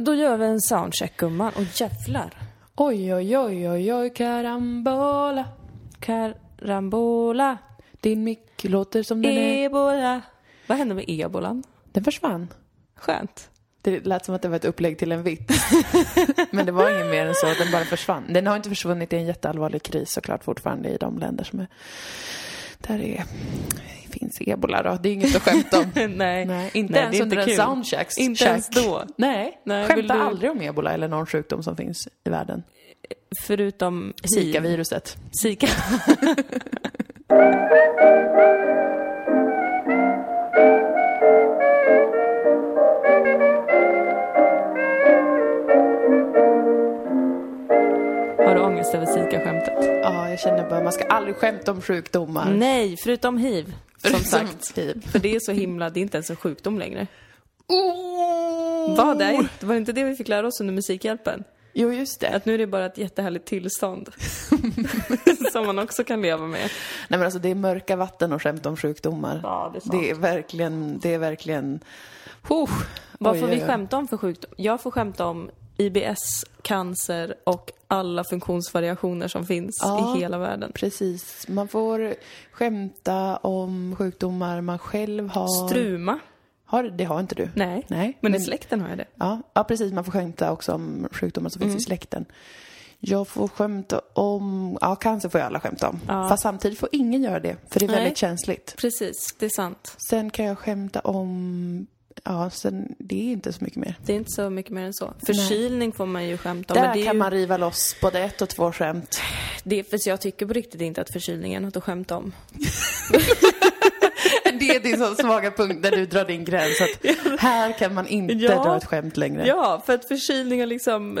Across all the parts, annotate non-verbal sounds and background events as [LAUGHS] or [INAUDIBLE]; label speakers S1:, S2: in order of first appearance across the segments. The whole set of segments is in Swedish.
S1: Då gör vi en soundcheck gumman. Och jävlar.
S2: Oj, oj, oj, oj, oj, karambola.
S1: Karambola.
S2: Din mick låter som den är...
S1: Ebola. Vad hände med ebolan?
S2: Den försvann.
S1: Skönt.
S2: Det lät som att det var ett upplägg till en vits. [LAUGHS] Men det var inget mer än så, den bara försvann. Den har inte försvunnit, det är en jätteallvarlig kris såklart fortfarande i de länder som är... Där det finns ebola då. Det är inget att skämta [LAUGHS] om.
S1: [LAUGHS] Nej,
S2: Inte
S1: nej, det
S2: ens
S1: är inte
S2: under en
S1: kul.
S2: soundcheck.
S1: Inte ens
S2: check.
S1: då.
S2: Nej,
S1: Nej, vill
S2: skämta
S1: du-
S2: aldrig om ebola eller någon sjukdom som finns i världen.
S1: Förutom hiv.
S2: Zika-viruset.
S1: Zika. [LAUGHS] Har du ångest över Zika-skämtet?
S2: Ja, jag känner bara, man ska aldrig skämta om sjukdomar.
S1: Nej, förutom hiv. Som sagt.
S2: Typ.
S1: För det är så himla, det är inte ens en sjukdom längre.
S2: Oh!
S1: Vad är det? Var det inte det vi fick lära oss under Musikhjälpen?
S2: Jo, just det.
S1: Att nu är det bara ett jättehärligt
S2: [LAUGHS]
S1: tillstånd. som man också kan leva med.
S2: Nej men alltså det är mörka vatten och skämt om sjukdomar.
S1: Ja, det är sant.
S2: det är verkligen, det är verkligen... Oh,
S1: Vad
S2: oj,
S1: får
S2: oj,
S1: vi
S2: oj.
S1: skämta om för sjukdom? Jag får skämta om IBS, cancer och alla funktionsvariationer som finns
S2: Ja.
S1: i hela världen.
S2: Precis. Man får skämta om sjukdomar man själv har.
S1: Struma?
S2: har det har inte du?
S1: Nej.
S2: Nej.
S1: Men i släkten har jag det.
S2: Ja, ja, precis. Man får skämta också om sjukdomar som
S1: Mm.
S2: finns i släkten. Jag får skämta om... Ja, cancer får ju alla skämta om. Fast samtidigt får ingen göra det, för det är
S1: Nej.
S2: väldigt känsligt.
S1: Precis, det är sant.
S2: Sen kan jag skämta om... Ja, sen, det är inte så mycket mer.
S1: Det är inte så mycket mer än så. Förkylning får man ju skämta om.
S2: Där
S1: men det är
S2: kan
S1: ju...
S2: man riva loss både ett och
S1: [LAUGHS]
S2: två skämt.
S1: det, för jag tycker på riktigt inte att förkylning är något att skämta om.
S2: Det är din sån svaga punkt där du drar din gräns. Att här kan man inte
S1: Ja.
S2: dra ett skämt längre.
S1: Ja, för att förkylning har liksom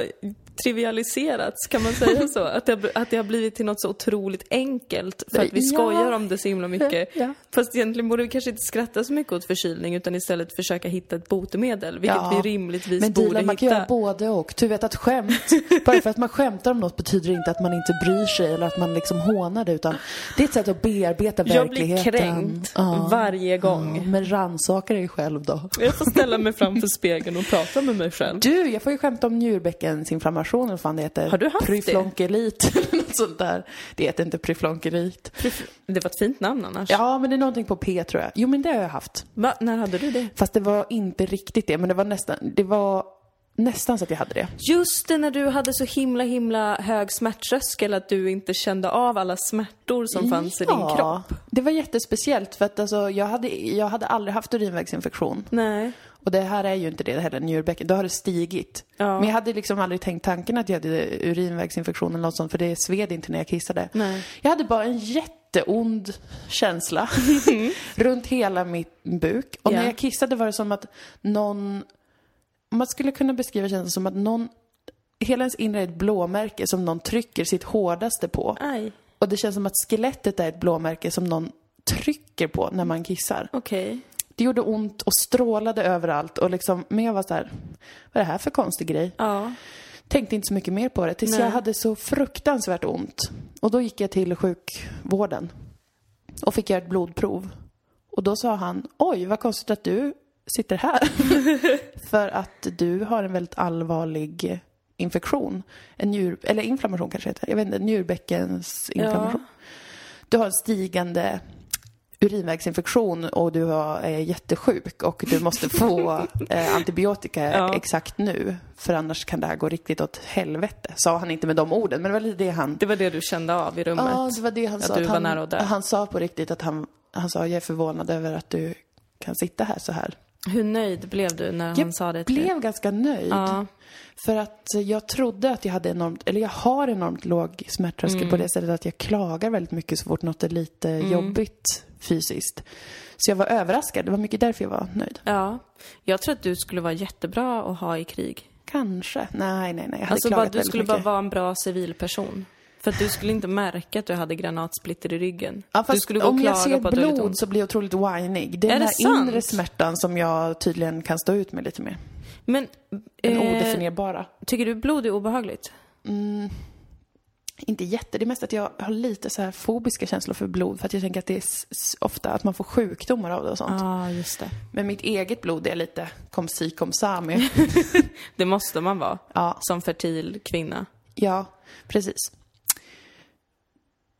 S1: trivialiserats, kan man säga så? Att det, har- att det har blivit till något så otroligt enkelt för att vi
S2: Ja.
S1: skojar om det så himla mycket.
S2: Ja.
S1: Fast egentligen borde vi kanske inte skratta så mycket åt förkylning utan istället försöka hitta ett botemedel, vilket
S2: Ja.
S1: vi rimligtvis
S2: Men
S1: borde
S2: Dilan, man kan
S1: hitta.
S2: göra både och. Du vet
S1: [LAUGHS]
S2: att skämt, bara för att man skämtar om något betyder inte att man inte bryr sig eller att man liksom hånar det utan det är ett sätt att bearbeta
S1: jag blir
S2: verkligheten.
S1: kränkt
S2: Ja.
S1: varje gång.
S2: Ja, men rannsaka dig själv då.
S1: Jag får ställa mig framför spegeln och prata med mig själv.
S2: Du, jag får ju skämta om njurbäckensinflammation eller vad fan det heter.
S1: Har du haft det?
S2: Pryflonkelit [LAUGHS] eller något sånt där. Det heter inte pryflonkelit.
S1: Det var ett fint namn annars.
S2: Ja, men det är någonting på P tror jag. Jo, men det har jag haft.
S1: Va? När hade du det?
S2: Fast det var inte riktigt det, men det var nästan, det var nästan så att jag hade det.
S1: Just det, när du hade så himla, himla hög smärttröskel att du inte kände av alla smärtor som fanns i din kropp.
S2: Det var jättespeciellt för att alltså, jag, hade, jag hade aldrig haft urinvägsinfektion.
S1: Nej.
S2: Och det här är ju inte det heller, njurbäcken. Då har det stigit.
S1: Ja.
S2: Men jag hade liksom aldrig tänkt tanken att jag hade urinvägsinfektion eller något sånt för det sved inte när jag kissade.
S1: Nej.
S2: Jag hade bara en jätteond känsla [LAUGHS] runt hela mitt buk. Och
S1: Mm. Ja.
S2: när jag kissade var det som att någon, man skulle kunna beskriva känslan som att någon, hela ens inre är ett blåmärke som någon trycker sitt hårdaste på.
S1: Aj.
S2: Och det känns som att skelettet är ett blåmärke som någon trycker på när man kissar.
S1: Okej.
S2: Det gjorde ont och strålade överallt och liksom, men jag var så här, vad är det här för konstig grej?
S1: Ja.
S2: Tänkte inte så mycket mer på det tills
S1: Nej.
S2: jag hade så fruktansvärt ont. Och då gick jag till sjukvården och fick göra ett blodprov. Och då sa han, oj vad konstigt att du
S1: [LAUGHS]
S2: sitter här. för att du har en väldigt allvarlig infektion. En njur, eller inflammation kanske heter, jag vet inte, njurbäckens inflammation
S1: ja.
S2: du har en stigande urinvägsinfektion och du har- är jättesjuk och du måste [LAUGHS] få eh, antibiotika
S1: Ja.
S2: exakt nu för annars kan det här gå riktigt åt helvete. Sa han inte med de orden men det var lite det han...
S1: Det var det du kände av i rummet?
S2: Ja, det var det han
S1: Att
S2: sa.
S1: du var
S2: han,
S1: nära att dö.
S2: han sa på riktigt att han, han sa jag är förvånad över att du kan sitta här så här.
S1: Hur nöjd blev du när han sa det
S2: Jag
S1: till dig?
S2: blev ganska nöjd.
S1: Ja.
S2: För att jag trodde att jag hade enormt, eller jag har enormt låg smärttröskel
S1: Mm.
S2: på det sättet att jag klagar väldigt mycket så fort något är lite jobbigt fysiskt. Så jag var överraskad, det var mycket därför jag var nöjd.
S1: Ja. Jag tror att du skulle vara jättebra att ha i krig.
S2: Kanske. Nej, nej, nej. Jag hade
S1: Alltså bara,
S2: klagat
S1: du
S2: väldigt
S1: skulle
S2: mycket.
S1: bara vara en bra civilperson. För att du skulle inte märka att du hade granatsplitter i ryggen.
S2: Ja, fast
S1: du skulle gå och
S2: om jag
S1: klaga
S2: ser
S1: på att du har lite
S2: blod
S1: ont.
S2: så blir jag otroligt whinig. Det är,
S1: Är
S2: den
S1: det
S2: här
S1: sant?
S2: inre smärtan som jag tydligen kan stå ut med lite mer.
S1: Men
S2: Den
S1: eh,
S2: odefinierbara.
S1: tycker du blod är obehagligt?
S2: inte jätte, det är mest att jag har lite så här fobiska känslor för blod för att jag tänker att det är s- s- ofta att man får sjukdomar av det och sånt.
S1: ah, just det.
S2: Men mitt eget blod är lite kom si kom sa med.
S1: [LAUGHS] Det måste man vara.
S2: Ja.
S1: Som fertil
S2: [LAUGHS]
S1: kvinna.
S2: Ja, precis.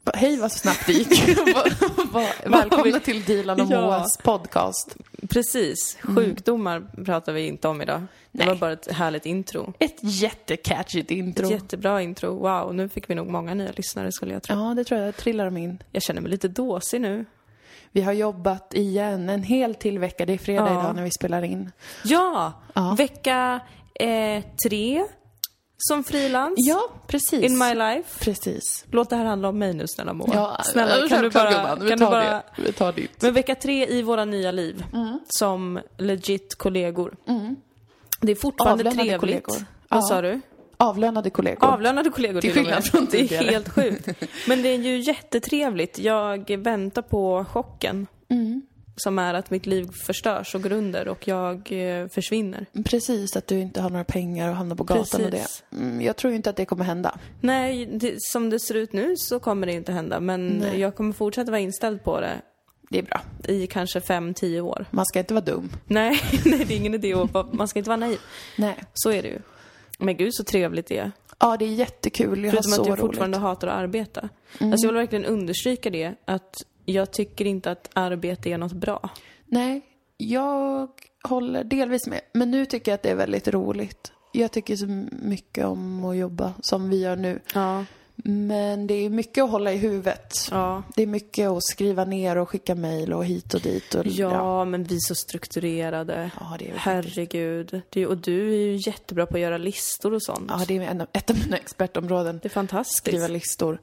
S2: Va- Hej vad snabbt
S1: [LAUGHS]
S2: det gick. Va- va- [LAUGHS] Välkomna
S1: vi-
S2: till Dilan och
S1: Ja.
S2: Moas podcast.
S1: Precis. Sjukdomar pratar vi inte om idag.
S2: Mm. Nej.
S1: Det var bara ett härligt intro.
S2: Ett jättecatchigt intro.
S1: Ett jättebra intro. Wow, nu fick vi nog många nya lyssnare skulle jag tro.
S2: Ja, det tror jag. Trillar de in.
S1: Jag känner mig lite dåsig nu.
S2: Vi har jobbat igen en hel till vecka. Det är fredag
S1: Ja.
S2: idag när vi spelar in.
S1: Ja!
S2: Ja.
S1: Vecka eh, tre som frilans.
S2: Ja, precis.
S1: In my life.
S2: Precis.
S1: Låt det här handla om mig nu snälla Moa.
S2: Ja,
S1: snälla, kan du
S2: självklart,
S1: bara...
S2: gumman. Vi
S1: kan du
S2: tar
S1: bara...
S2: det. Vi tar ditt.
S1: Men vecka tre i våra nya liv
S2: Mm.
S1: som legit kollegor. Det är fortfarande
S2: Avlönade
S1: trevligt.
S2: kollegor. Ja.
S1: Vad sa du?
S2: Avlönade kollegor.
S1: Avlönade kollegor
S2: Till
S1: till och med.
S2: skillnad från
S1: Det är
S2: tidigare.
S1: helt sjukt.
S2: [LAUGHS]
S1: Men det är ju jättetrevligt. Jag väntar på chocken.
S2: Mm.
S1: Som är att mitt liv förstörs och går under och jag eh, försvinner.
S2: Precis, att du inte har några pengar och hamnar på gatan och det.
S1: Precis.
S2: Mm, jag tror ju inte att det kommer hända.
S1: Nej, det, som det ser ut nu så kommer det inte hända. Men jag kommer fortsätta vara inställd på det
S2: Det är bra.
S1: i kanske 5-10 år. [LAUGHS]
S2: Man ska inte vara dum.
S1: Nej, nej, det är ingen idé att vara- man ska inte vara naiv.
S2: Nej.
S1: Så är det ju. Men gud så trevligt det är.
S2: Ja, det är jättekul. Jag har
S1: Förutom
S2: så
S1: att jag
S2: roligt. Mm.
S1: fortfarande hatar att arbeta. Alltså jag vill verkligen understryka det, att jag tycker inte att arbete är något bra.
S2: Nej, jag håller delvis med. Men nu tycker jag att det är väldigt roligt. Jag tycker så mycket om att jobba som vi gör nu.
S1: Ja.
S2: Men det är mycket att hålla i huvudet.
S1: Ja.
S2: Det är mycket att skriva ner och skicka mejl och hit och dit. Och,
S1: Ja, men vi är så strukturerade.
S2: Ja, det är vi
S1: Herregud. Du, och du är ju jättebra på att göra listor och sånt.
S2: ja, det är en av, ett av mina expertområden.
S1: Det är fantastiskt.
S2: Skriva listor.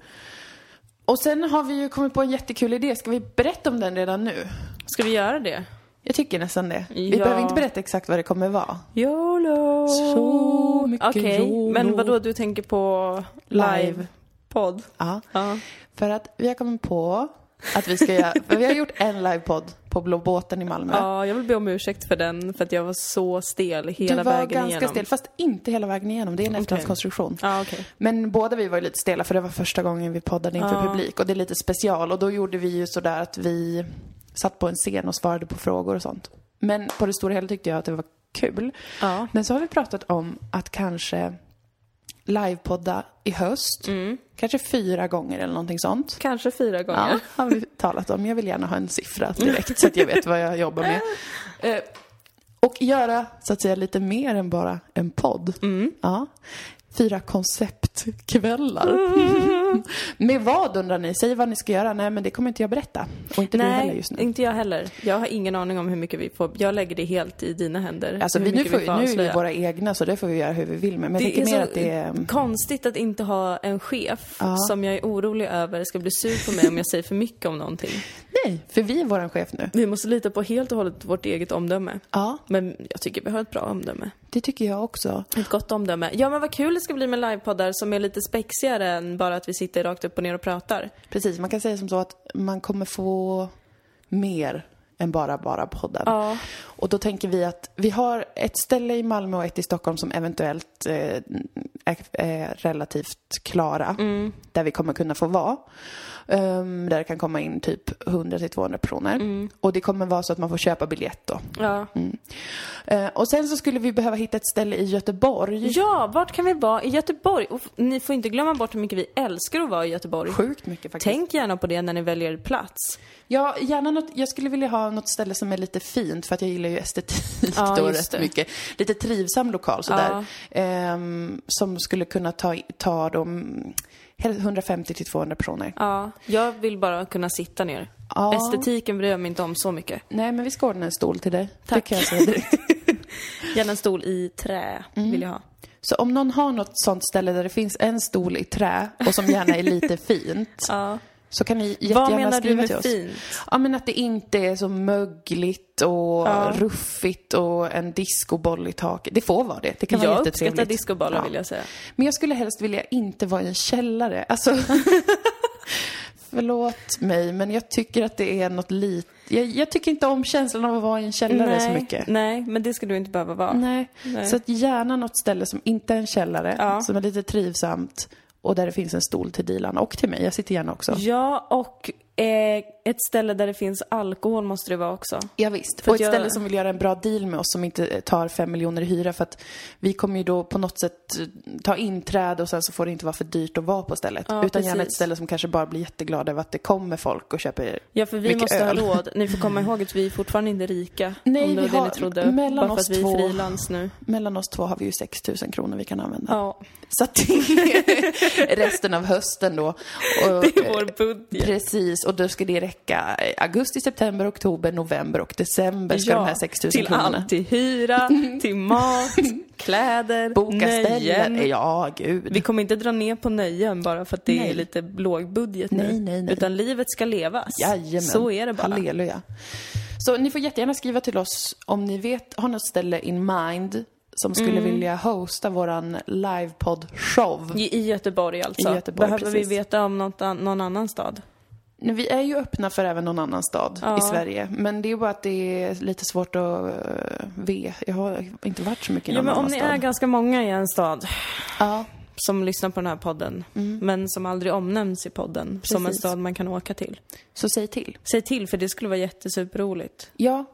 S2: Och sen har vi ju kommit på en jättekul idé. Ska vi berätta om den redan nu?
S1: Ska vi göra det?
S2: Jag tycker nästan det. Vi
S1: Ja.
S2: behöver inte berätta exakt vad det kommer vara.
S1: YOLO!
S2: Så mycket
S1: Okej,
S2: YOLO.
S1: men vadå, du tänker på
S2: Live.
S1: live-podd?
S2: Ja.
S1: Ja.
S2: För att vi har kommit på att vi
S1: [LAUGHS]
S2: ska göra, för vi har gjort en livepodd på Blå båten i Malmö.
S1: ja, jag vill be om ursäkt för den, för att jag var så stel hela
S2: du var
S1: vägen
S2: ganska
S1: igenom.
S2: stel, fast inte hela vägen igenom. Det är en efterhandskonstruktion.
S1: Ja, okej.
S2: Men båda vi var ju lite stela för det var första gången vi poddade inför publik och det är lite special och då gjorde vi ju sådär att vi satt på en scen och svarade på frågor och sånt. Men på det stora hela tyckte jag att det var kul.
S1: Ja.
S2: Men så har vi pratat om att kanske livepodda i höst.
S1: Mm.
S2: Kanske fyra gånger eller någonting sånt.
S1: Kanske fyra gånger.
S2: Ja, har vi talat om. Jag vill gärna ha en
S1: [LAUGHS]
S2: siffra direkt så att jag vet vad jag jobbar med. Eh, och göra så att säga lite mer än bara en podd.
S1: Mm.
S2: Ja. Fyra konceptkvällar.
S1: [LAUGHS]
S2: med vad undrar ni? Säg vad ni ska göra. Nej men det kommer inte jag berätta. Och inte du heller
S1: Nej,
S2: just nu.
S1: inte jag heller. Jag har ingen aning om hur mycket vi får. Jag lägger det helt i dina händer.
S2: Alltså,
S1: hur
S2: vi, nu,
S1: mycket
S2: får, vi- nu är vi
S1: avslöja.
S2: våra egna så det får vi göra hur vi vill med. Men jag
S1: Det är
S2: tänker mer
S1: så
S2: att det är...
S1: [LAUGHS] konstigt att inte ha en chef som jag är orolig över ska bli sur på mig om jag säger för mycket om någonting.
S2: Nej, för vi är våran chef nu.
S1: Vi måste lita på helt och hållet vårt eget omdöme.
S2: Ja,
S1: Men jag tycker vi har ett bra omdöme.
S2: det tycker jag också.
S1: Ett gott omdöme. Ja men vad kul det ska bli med livepoddar som är lite spexigare än bara att vi sitter rakt upp och ner och pratar.
S2: Precis, man kan säga som så att man kommer få mer än bara bara podden.
S1: Ja.
S2: Och då tänker vi att vi har ett ställe i Malmö och ett i Stockholm som eventuellt eh, är, är relativt klara.
S1: Mm.
S2: Där vi kommer kunna få vara. Ehm, där det kan komma in typ 100-200 personer. Och det kommer vara så att man får köpa biljett då.
S1: Ja.
S2: Eh, och sen så skulle vi behöva hitta ett ställe i Göteborg.
S1: ja, vart kan vi vara? I Göteborg. Och f- ni får inte glömma bort hur mycket vi älskar att vara i Göteborg.
S2: Sjukt mycket faktiskt.
S1: Tänk gärna på det när ni väljer plats.
S2: Ja, gärna något, jag skulle vilja ha något ställe som är lite fint för att jag gillar ju estetik
S1: Ja,
S2: då
S1: just
S2: rätt
S1: det.
S2: mycket. Lite trivsam lokal sådär. Ehm, som skulle kunna ta, ta de 150 till 200 personer.
S1: Ja, jag vill bara kunna sitta ner.
S2: Ja.
S1: Estetiken bryr jag mig inte om så mycket.
S2: Nej, men vi ska ordna en stol till dig.
S1: Tack.
S2: Det kan jag
S1: [LAUGHS]
S2: säga direkt.
S1: Gärna en stol i trä
S2: Mm.
S1: vill jag ha.
S2: Så om någon har något sånt ställe där det finns en stol i trä och som gärna är lite fint.
S1: Ja.
S2: Så kan ni jättegärna
S1: Vad menar du
S2: skriva till
S1: med
S2: oss.
S1: fint?
S2: Ja men att det inte är så mögligt och ruffigt och en discoboll i taket. Det får vara det. Det kan vara
S1: Jag
S2: jättetrevligt.
S1: uppskattar discobollar
S2: Ja.
S1: vill jag säga.
S2: Men jag skulle helst vilja inte vara i en källare.
S1: [LAUGHS]
S2: Alltså, förlåt mig men jag tycker att det är något lite... Jag, jag tycker inte om känslan av att vara i en källare så mycket.
S1: nej, men det ska du inte behöva vara.
S2: Nej. Så att gärna något ställe som inte är en källare,
S1: Ja.
S2: som är lite trivsamt och där det finns en stol till Dilan och till mig. Jag sitter gärna också.
S1: Ja, och eh, ett ställe där det finns alkohol måste det vara också.
S2: Ja, visst.
S1: För
S2: och
S1: att
S2: ett
S1: jag-
S2: ställe som vill göra en bra deal med oss som inte tar fem miljoner i hyra för att vi kommer ju då på något sätt eh, ta inträde och sen så får det inte vara för dyrt att vara på stället.
S1: Ja,
S2: Utan gärna
S1: precis.
S2: ett ställe som kanske bara blir jätteglada över att det kommer folk och köper
S1: Ja, för vi
S2: Mycket
S1: måste
S2: öl.
S1: ha råd. Ni får komma ihåg att vi är fortfarande inte rika.
S2: Nej,
S1: om det var
S2: vi
S1: det
S2: har-
S1: ni trodde. bara
S2: mellan
S1: för
S2: oss
S1: att vi
S2: två.
S1: är frilans nu.
S2: Mellan oss två har vi ju 6 000 kronor vi kan använda. [LAUGHS]
S1: Ja,
S2: Så att det är [LAUGHS] resten av hösten då. Och,
S1: det är vår budget.
S2: Precis, och då ska det räcka eh, augusti, september, oktober, november och december ska
S1: Ja,
S2: de här 6 000
S1: Till
S2: kronorna.
S1: allt. Till
S2: [LAUGHS]
S1: hyra, till mat, kläder,
S2: Boka ställen.
S1: nöjen.
S2: Ja, gud.
S1: Vi kommer inte dra ner på nöjen bara för att det
S2: Nej.
S1: är lite låg budget nu.
S2: Nej, nej, nej.
S1: Utan livet ska levas.
S2: Jajamän.
S1: Så är det bara.
S2: Halleluja. Så ni får jättegärna skriva till oss om ni vet, har något ställe in mind som
S1: Mm.
S2: skulle vilja hosta våran livepodd-show.
S1: I i Göteborg alltså.
S2: I Göteborg,
S1: Behöver
S2: precis.
S1: vi veta om något an- någon annan stad?
S2: Nu, Vi är ju öppna för även någon annan stad
S1: Ja.
S2: i Sverige. Men det är ju bara att det är lite svårt att uh, ve. Jag har inte varit så mycket i
S1: Jo,
S2: någon
S1: men om
S2: annan
S1: ni
S2: stad.
S1: är ganska många i en stad
S2: Ja,
S1: som lyssnar på den här podden, men som aldrig omnämns i podden, som en
S2: Mm. Precis.
S1: stad man kan åka till.
S2: så säg till.
S1: Säg till, för det skulle vara jättesuperroligt.
S2: Ja,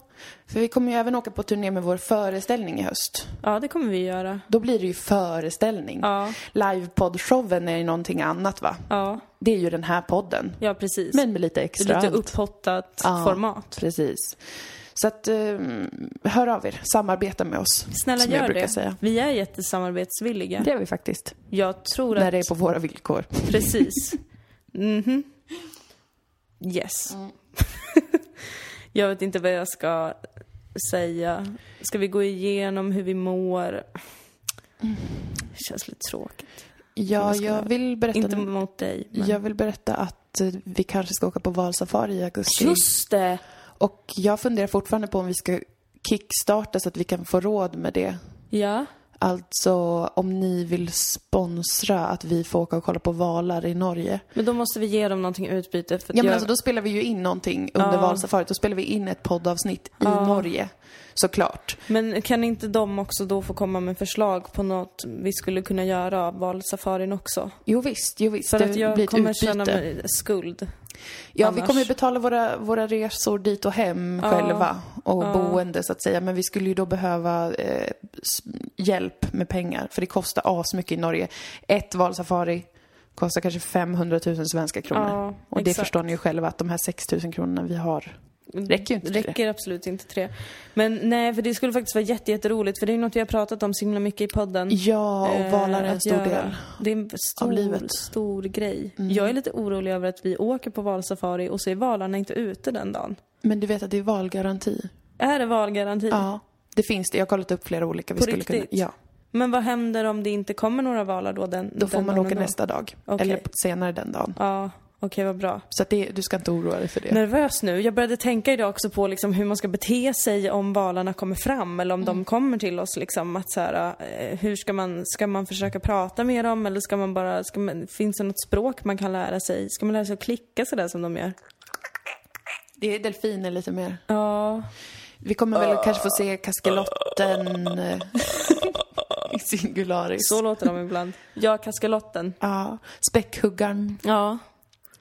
S2: för vi kommer ju även åka på turné med vår föreställning i höst.
S1: Ja, det kommer vi göra.
S2: Då blir det ju föreställning.
S1: Ja,
S2: Livepodd-showen är ju någonting annat va?
S1: ja,
S2: Det är ju den här podden.
S1: ja precis.
S2: Men med lite
S1: Det
S2: extra
S1: är lite
S2: allt.
S1: upphottat
S2: Ja.
S1: format.
S2: Precis. Så att, um, hör av er. Samarbeta med oss.
S1: Snälla
S2: som jag
S1: gör
S2: brukar
S1: det.
S2: säga.
S1: Vi är jättesamarbetsvilliga.
S2: Det är vi faktiskt.
S1: Jag tror att...
S2: När det är på våra villkor. [LAUGHS]
S1: Precis. Mhm. Yes.
S2: Mm.
S1: [LAUGHS] jag vet inte vad jag ska säga. Ska vi gå igenom hur vi mår?
S2: Mm.
S1: Det känns lite tråkigt.
S2: Ja,
S1: Vad ska
S2: jag
S1: jag-
S2: vill berätta
S1: Inte mot dig, men...
S2: Jag vill berätta att eh, vi kanske ska åka på valsafari i augusti.
S1: Just det!
S2: Och jag funderar fortfarande på om vi ska kickstarta så att vi kan få råd med det.
S1: Ja.
S2: Alltså om ni vill sponsra att vi får åka och kolla på valar i Norge.
S1: Men då måste vi ge dem någonting i utbyte. För att
S2: Ja men
S1: jag...
S2: alltså då spelar vi ju in någonting under
S1: Ja.
S2: valsafariet. Då spelar vi in ett poddavsnitt i
S1: Ja.
S2: Norge. Såklart.
S1: Men kan inte de också då få komma med förslag på något vi skulle kunna göra av valsafarin också?
S2: Jo visst, jo visst.
S1: För
S2: det
S1: att jag
S2: blir ett
S1: kommer
S2: utbyte.
S1: känna mig skuld.
S2: Ja, vi
S1: annars.
S2: kommer ju betala våra, våra resor dit och hem
S1: Ja.
S2: själva och
S1: Ja.
S2: boende så att säga. Men vi skulle ju då behöva eh, s- hjälp med pengar för det kostar asmycket i Norge. Ett valsafari kostar kanske 500 000 svenska kronor.
S1: Ja,
S2: och det
S1: exakt.
S2: förstår ni ju själva att de här 6 000 kronorna vi har räcker ju inte till det.
S1: Räcker absolut inte till det. Men nej, för det skulle faktiskt vara jätte, jätteroligt för det är något vi har pratat om så himla mycket i podden.
S2: Ja, och
S1: Eh,
S2: valar är en
S1: att
S2: stor
S1: göra.
S2: del.
S1: Det är en stor,
S2: livet. Mm.
S1: stor grej. Jag är lite orolig över att vi åker på valsafari och så är valarna inte ute den dagen.
S2: Men du vet att det är valgaranti?
S1: Är det valgaranti?
S2: Ja, det finns det. Jag har kollat upp flera olika vi
S1: På
S2: skulle kunna...
S1: riktigt?
S2: Ja,
S1: Men vad händer om det inte kommer några valar då den
S2: då får
S1: den
S2: man
S1: dagen
S2: åka
S1: ändå?
S2: nästa dag.
S1: Okej.
S2: Eller senare den dagen.
S1: Ja, okej vad bra.
S2: Så att det, du ska inte oroa dig för det.
S1: nervös nu. Jag började tänka idag också på liksom hur man ska bete sig om valarna kommer fram eller om
S2: Mm.
S1: de kommer till oss. Liksom, att så här, eh, hur ska man, ska man försöka prata med dem eller ska man bara, ska man, finns det något språk man kan lära sig? Ska man lära sig att klicka sådär som de gör?
S2: Det är delfiner lite mer.
S1: Ja,
S2: Vi kommer väl kanske få se kaskelotten eh, [LAUGHS] i singularis.
S1: så låter de
S2: [LAUGHS]
S1: ibland. Ja, kaskelotten.
S2: Ja, späckhuggaren,
S1: Ja,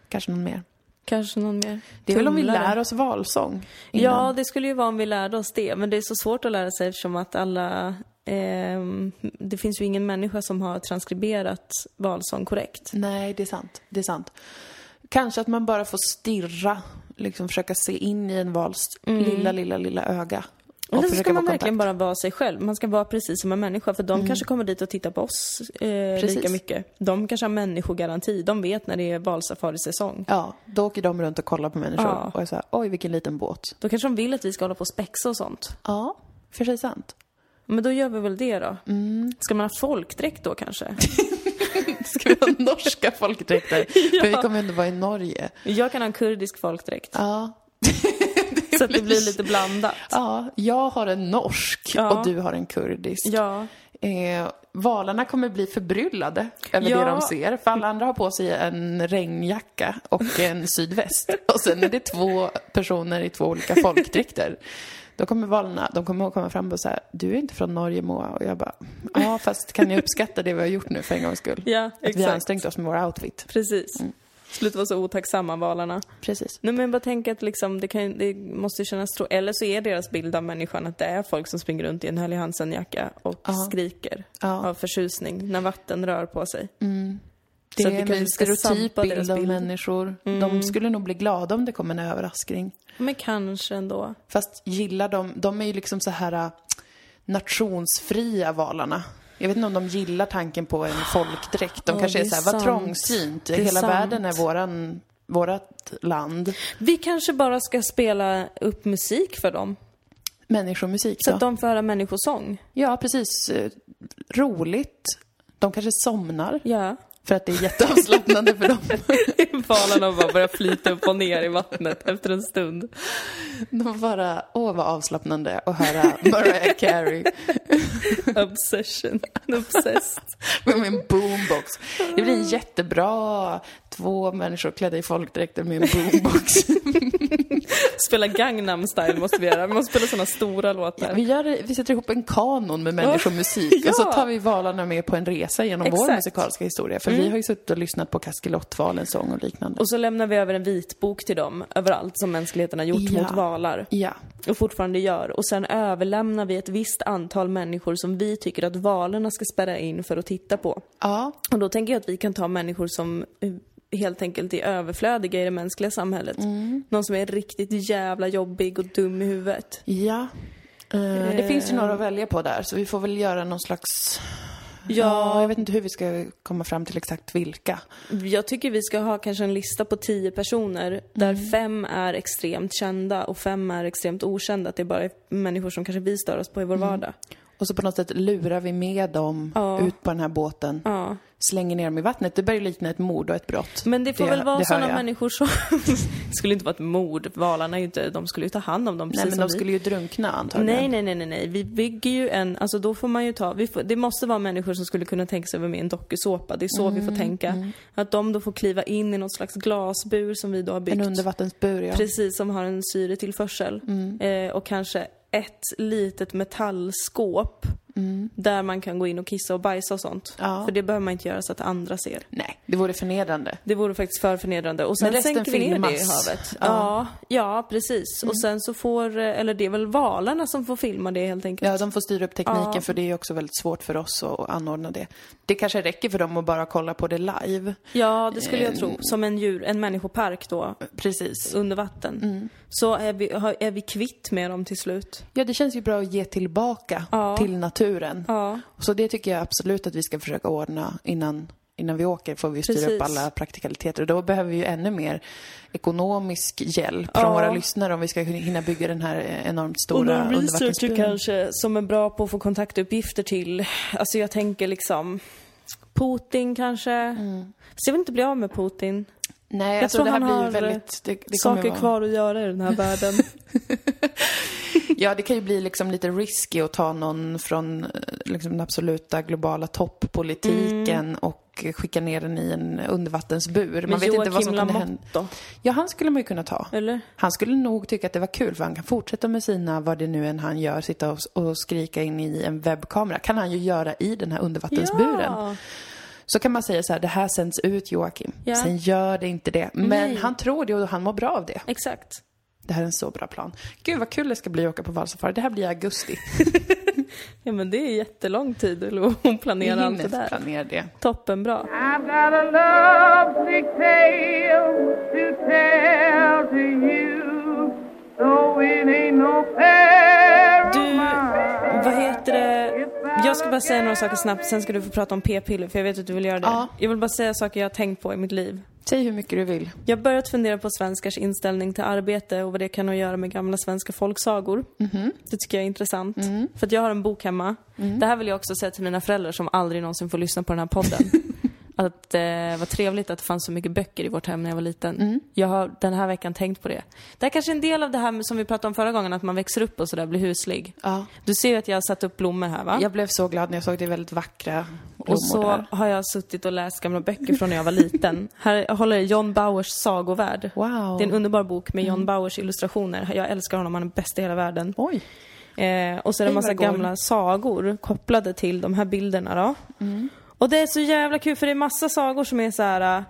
S2: kanske någon mer.
S1: kanske någon mer.
S2: Det är väl om vi
S1: Tumlare.
S2: lär oss valsång innan.
S1: Ja, det skulle ju vara om vi lärde oss det. Men det är så svårt att lära sig eftersom att alla... ehm, det finns ju ingen människa som har transkriberat valsång korrekt.
S2: Nej, det är sant. Det är sant. Kanske att man bara får stirra, liksom försöka se in i en vals lilla, lilla, lilla öga. Och
S1: Mm. Eller så
S2: försöka
S1: ska man
S2: vara
S1: verkligen
S2: kontakt. Mm.
S1: bara vara sig själv. Man ska vara precis som en människa för de kanske kommer dit och tittar på oss eh,
S2: Precis.
S1: lika mycket. De kanske har människogaranti. De vet när det är valsafarisäsong.
S2: Ja, då åker de runt och kollar på människor
S1: Ja.
S2: och är såhär, oj vilken liten båt.
S1: Då kanske de vill att vi ska hålla på och spexa och sånt.
S2: Ja, för sig sant.
S1: Men då gör vi väl det då.
S2: Mm.
S1: Ska man ha folkdräkt då kanske?
S2: Ska vi ha [LAUGHS] norska [LAUGHS] folkdräkter? För vi kommer ju ändå vara i Norge.
S1: Jag kan ha en kurdisk folkdräkt.
S2: Ja,
S1: [LAUGHS] så att det blir lite blandat.
S2: Ja, jag har en norsk
S1: Ja.
S2: och du har en kurdisk.
S1: Ja.
S2: Eh, valarna kommer bli förbryllade över
S1: Ja.
S2: det de ser. För alla andra har på sig en regnjacka [LAUGHS] och en sydväst. Och sen är det två personer i två olika folkdräkter. Då kommer valarna, de kommer att komma fram och säga du är inte från Norge Moa och jag bara ja fast kan ni uppskatta det vi har gjort nu för en gångs skull?
S1: Ja,
S2: Att vi har
S1: exakt.
S2: ansträngt oss med vår outfit.
S1: Precis. Sluta vara så otacksamma valarna.
S2: Precis.
S1: Nej men jag bara tänker att liksom, det, kan, ju- det måste ju kännas tro Eller så är deras bild av människan att det är folk som springer runt i en Helly Hansen-jacka och
S2: Ja.
S1: skriker
S2: Ja.
S1: av förtjusning när vatten rör på sig.
S2: Det
S1: Så att vi
S2: är
S1: kanske
S2: en
S1: ska
S2: stereotyp
S1: sampa deras
S2: bild av
S1: bild. Mm.
S2: människor. De skulle nog bli glada om det kom en överraskning.
S1: Men kanske ändå.
S2: Fast gillar de, de är ju liksom så här äh, nationsfria valarna. Jag vet inte om de gillar tanken på en folkdräkt. De
S1: Ja,
S2: kanske är
S1: det är
S2: så här, vad
S1: sant.
S2: trångsynt.
S1: Det är
S2: Hela
S1: sant.
S2: världen är våran, vårat land.
S1: Vi kanske bara ska spela upp musik för dem.
S2: Människomusik
S1: Så
S2: då.
S1: att de får höra människosång.
S2: Ja, precis. Eh, Roligt. De kanske somnar
S1: Ja.
S2: för att det är jätteavslappnande för dem.
S1: [LAUGHS] Valarna bara börjar flyta upp och ner i vattnet efter en stund.
S2: De bara, åh vad avslappnande att höra [LAUGHS] Mariah Carey
S1: [LAUGHS] Obsession. Obsessed.
S2: med en boombox. Det blir en jättebra två människor klädda i folkdräkter med en boombox.
S1: Spela Gangnam style måste vi göra. Vi måste spela såna stora
S2: Ja,
S1: låtar.
S2: [LAUGHS] vi, gör, vi sätter ihop en kanon med människomusik
S1: Ja.
S2: och så tar vi valarna med på en resa genom vår
S1: Exakt.
S2: musikaliska historia. För vi har ju suttit och lyssnat på Kaskelotvalens sång Mm. och liknande.
S1: Och så lämnar vi över en vitbok till dem över allt som mänskligheten har gjort
S2: Ja.
S1: mot valar.
S2: ja,
S1: Och fortfarande gör. Och sen överlämnar vi ett visst antal människor som vi tycker att valarna ska spärra in för att titta på.
S2: ja,
S1: Och då tänker jag att vi kan ta människor som eh, helt enkelt är överflödiga i det mänskliga samhället. Någon som är riktigt jävla jobbig och dum i huvudet.
S2: ja. Eh, Det finns ju några att välja på där, så vi får väl göra någon slags... Ja,
S1: Ja,
S2: jag vet inte hur vi ska komma fram till exakt vilka.
S1: jag tycker vi ska ha kanske en lista på tio personer där
S2: Mm.
S1: fem är extremt kända och fem är extremt okända. Att det bara är människor som kanske vi stör oss på i
S2: Mm.
S1: vår vardag.
S2: Och så på något sätt lurar vi med dem
S1: Ja.
S2: ut på den här båten,
S1: Ja.
S2: slänger ner dem i vattnet. Det börjar ju likna ett mord och ett brott.
S1: Men det får väl vara
S2: det hör
S1: sådana
S2: jag.
S1: människor som... [LAUGHS] det skulle inte vara ett mord. Valarna är ju inte... De skulle ju ta hand om dem precis
S2: Nej, men
S1: som
S2: de
S1: vi.
S2: skulle ju drunkna antagligen.
S1: Nej, nej, nej, nej, nej. Vi bygger ju en, alltså då får man ju ta, vi får, det måste vara människor som skulle kunna tänka sig att vara med i en dokusåpa. Det är så
S2: Mm,
S1: vi får tänka. Att de då får kliva in i något slags glasbur som vi då har byggt.
S2: En undervattensbur, ja.
S1: Precis, som har en syretillförsel.
S2: Mm.
S1: Eh, och kanske ett litet metallskåp där man kan gå in och kissa och bajsa och sånt.
S2: Mm. Ja.
S1: För det behöver man inte göra så att andra ser.
S2: Nej, det vore förnedrande.
S1: Det vore faktiskt för förnedrande. Och sen
S2: Men resten
S1: sänker vi ner det i
S2: filmas.
S1: havet.
S2: Ja. Mm.
S1: Ja, ja, precis. Och sen så får, eh, eller det är väl valarna som får filma det helt enkelt.
S2: Ja, de får styra upp tekniken
S1: Ja.
S2: för det är ju också väldigt svårt för oss att, att anordna det. Det kanske räcker för dem att bara kolla på det live.
S1: Ja, det skulle jag tro. Som en, djur, en människopark då,
S2: Eh. Precis. Mm.
S1: under vatten. Så är vi, har- är vi kvitt med dem till slut.
S2: Ja, det känns ju bra att ge tillbaka
S1: Ja.
S2: till naturen.
S1: Ja,
S2: Så det tycker jag absolut att vi ska försöka ordna innan, innan vi åker får vi styra
S1: Precis.
S2: upp alla praktikaliteter. Och då behöver vi ju ännu mer ekonomisk hjälp
S1: Ja.
S2: från våra lyssnare om vi ska hinna bygga den här eh, enormt
S1: och
S2: stora
S1: någon researcher
S2: undervattensbyn.
S1: kanske som är bra på att få kontaktuppgifter till, alltså jag tänker liksom Putin kanske.
S2: Mm.
S1: Så jag vill inte bli av med Putin.
S2: Nej,
S1: Jag
S2: alltså
S1: tror
S2: det här
S1: han
S2: blir ju
S1: har,
S2: väldigt... Det, det kommer
S1: Saker
S2: vara-
S1: kvar att göra i den här
S2: [LAUGHS]
S1: världen.
S2: Ja, det kan ju bli liksom lite risky att ta någon från eh, liksom, den absoluta globala topppolitiken och skicka ner den i en undervattensbur. Man
S1: Mm. Men
S2: vet inte vad som kunde hända.
S1: då,
S2: Ja, han skulle man ju kunna ta.
S1: eller?
S2: Han skulle nog tycka att det var kul för han kan fortsätta med sina, vad det nu än han gör, sitta och, och skrika in i en webbkamera. Kan han ju göra i den här undervattensburen.
S1: Ja.
S2: Så kan man säga så här, det här sänds ut Joakim.
S1: Ja.
S2: Sen gör det inte det. Men
S1: Nej.
S2: han tror det och han mår bra av det.
S1: Exakt.
S2: Det här är en så bra plan. Gud vad kul det ska bli att åka på valsafari. Det här blir i
S1: [LAUGHS]
S2: augusti.
S1: Ja men det är jättelång tid att planera allt det där.
S2: planera det.
S1: Toppenbra.
S3: I've got a lovesick tale to tell to you, though it ain't no fair of
S1: Du,
S3: mine.
S1: vad heter det? Jag ska bara säga några saker snabbt, sen ska du få prata om p-piller för jag vet att du vill göra det.
S2: Ja.
S1: Jag vill bara säga saker jag har tänkt på i mitt liv.
S2: Säg hur mycket du vill.
S1: Jag har börjat fundera på svenskars inställning till arbete och vad det kan ha att göra med gamla svenska folksagor. Det tycker jag är intressant. För att jag har en bok hemma. Det här vill jag också säga till mina föräldrar som aldrig någonsin får lyssna på den här podden. att eh, vad trevligt att det fanns så mycket böcker i vårt hem när jag var liten. Jag har den här veckan tänkt på det. Det här kanske är en del av det här med, som vi pratade om förra gången, att man växer upp och sådär, blir huslig.
S2: Ja.
S1: Du ser ju att jag har satt upp blommor här va?
S2: Jag blev så glad när jag såg det väldigt vackra blommor
S1: Och så
S2: där.
S1: har jag suttit och läst gamla böcker från när jag var liten. Här jag håller i John Bauers sagovärld.
S2: Wow. Mm.
S1: Det är en underbar bok med John Bauers illustrationer. Jag älskar honom, han är bäst i hela världen.
S2: Oj.
S1: Eh, och så är det en massa
S2: Ingvar Gård.
S1: gamla sagor kopplade till de här bilderna då.
S2: Mm.
S1: Och det är så jävla kul för det är massa sagor som är så här. eh,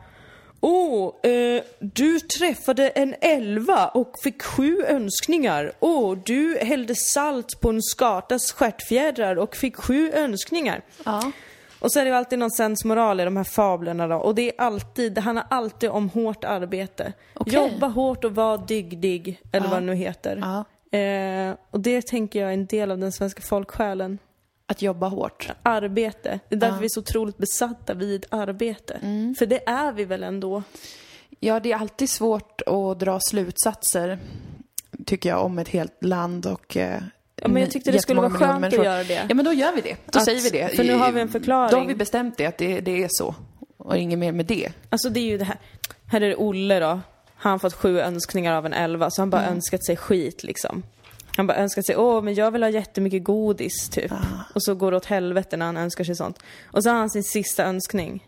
S1: Åh, oh, eh, du träffade en elva och fick sju önskningar. Åh, oh, du hällde salt på en skatas stjärtfjädrar och fick sju önskningar.
S2: Ja.
S1: Och så är det ju alltid någon sensmoral i de här fablerna då. Och det är alltid, det handlar alltid om hårt arbete.
S2: Okej.
S1: Jobba hårt och var dygdig, eller vad det nu heter.
S2: ja.
S1: Eh, och det tänker jag är en del av den svenska folksjälen.
S2: Att jobba hårt.
S1: Arbete. Det är därför vi är så otroligt besatta vid arbete.
S2: Mm.
S1: För det är vi väl ändå?
S2: Ja, det är alltid svårt att dra slutsatser, tycker jag, om ett helt land och eh,
S1: Ja, men jag tyckte det skulle
S2: jättemånga
S1: vara
S2: miljoner
S1: skönt att
S2: människor.
S1: göra det.
S2: Ja, men då gör vi det. Då
S1: Att-
S2: säger vi det.
S1: för nu har vi en
S2: Då
S1: förklaring.
S2: har vi bestämt det, att det, det är så. Och inget mer med det. [LAUGHS]
S1: Alltså det är ju det här. Här är det Olle då. Han har fått sju önskningar av en elva, så han bara önskat sig skit liksom. Han bara önskat sig, åh men jag vill ha jättemycket godis typ. Och så går det åt helvete när han önskar sig sånt. Och så har han sin sista önskning.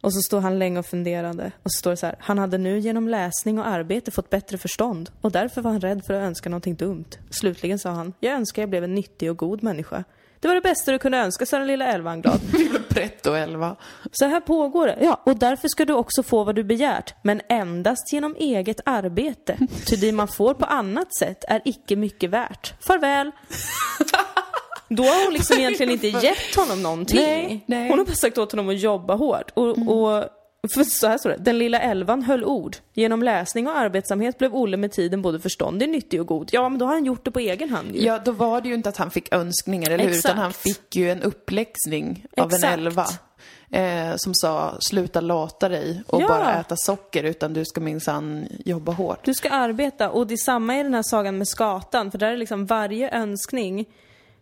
S1: Och så står han länge och funderande. Och så står det så här, han hade nu genom läsning och arbete fått bättre förstånd. Och därför var han rädd för att önska någonting dumt. Slutligen sa han, jag önskar jag blev en nyttig och god människa. Det var det bästa du kunde önska, sa den lilla elvan glad.
S2: Pretto 11.
S1: Så här pågår det. Ja, och därför ska du också få vad du begärt, men endast genom eget
S2: [LAUGHS]
S1: arbete. Ty det man får på annat sätt är icke mycket värt. Farväl! Då har hon liksom egentligen
S2: [LAUGHS]
S1: inte gett honom någonting.
S2: Nej, nej. Mm.
S1: Hon har bara sagt åt honom att jobba hårt. Och, och för så här står det. Den lilla elvan höll ord. Genom läsning och arbetsamhet blev Olle med tiden både förståndig, nyttig och god. Ja, men då har han gjort det på egen hand ju.
S2: Ja, då var det ju inte att han fick önskningar, eller hur?
S1: Exakt.
S2: Utan han fick ju en uppläxning av en
S1: Exakt.
S2: elva. Eh, som sa, sluta lata dig och
S1: Ja.
S2: bara äta socker, utan du ska minsann jobba hårt.
S1: Du ska arbeta och det är samma i den här sagan med skatan för där är liksom varje önskning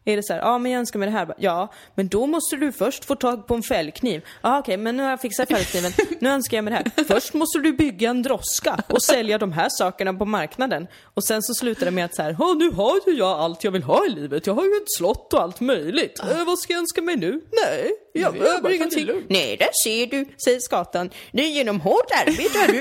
S1: är det så här, ja men jag önskar mig det här. Bara, Ja, men då måste du först få tag på en fällkniv. Ja okej, men nu har jag fixat fällkniven. Nu önskar jag mig det här. Först måste du bygga en droska och sälja de här sakerna på marknaden. Och sen så slutar det med att så här, ja nu har ju jag allt jag vill ha i livet. Jag har ju ett slott och allt möjligt. Eh, vad ska jag önska mig nu? Nej, jag behöver ingenting. Nej, där ser du, säger skatan. Det är genom hårt arbete har [LAUGHS] du...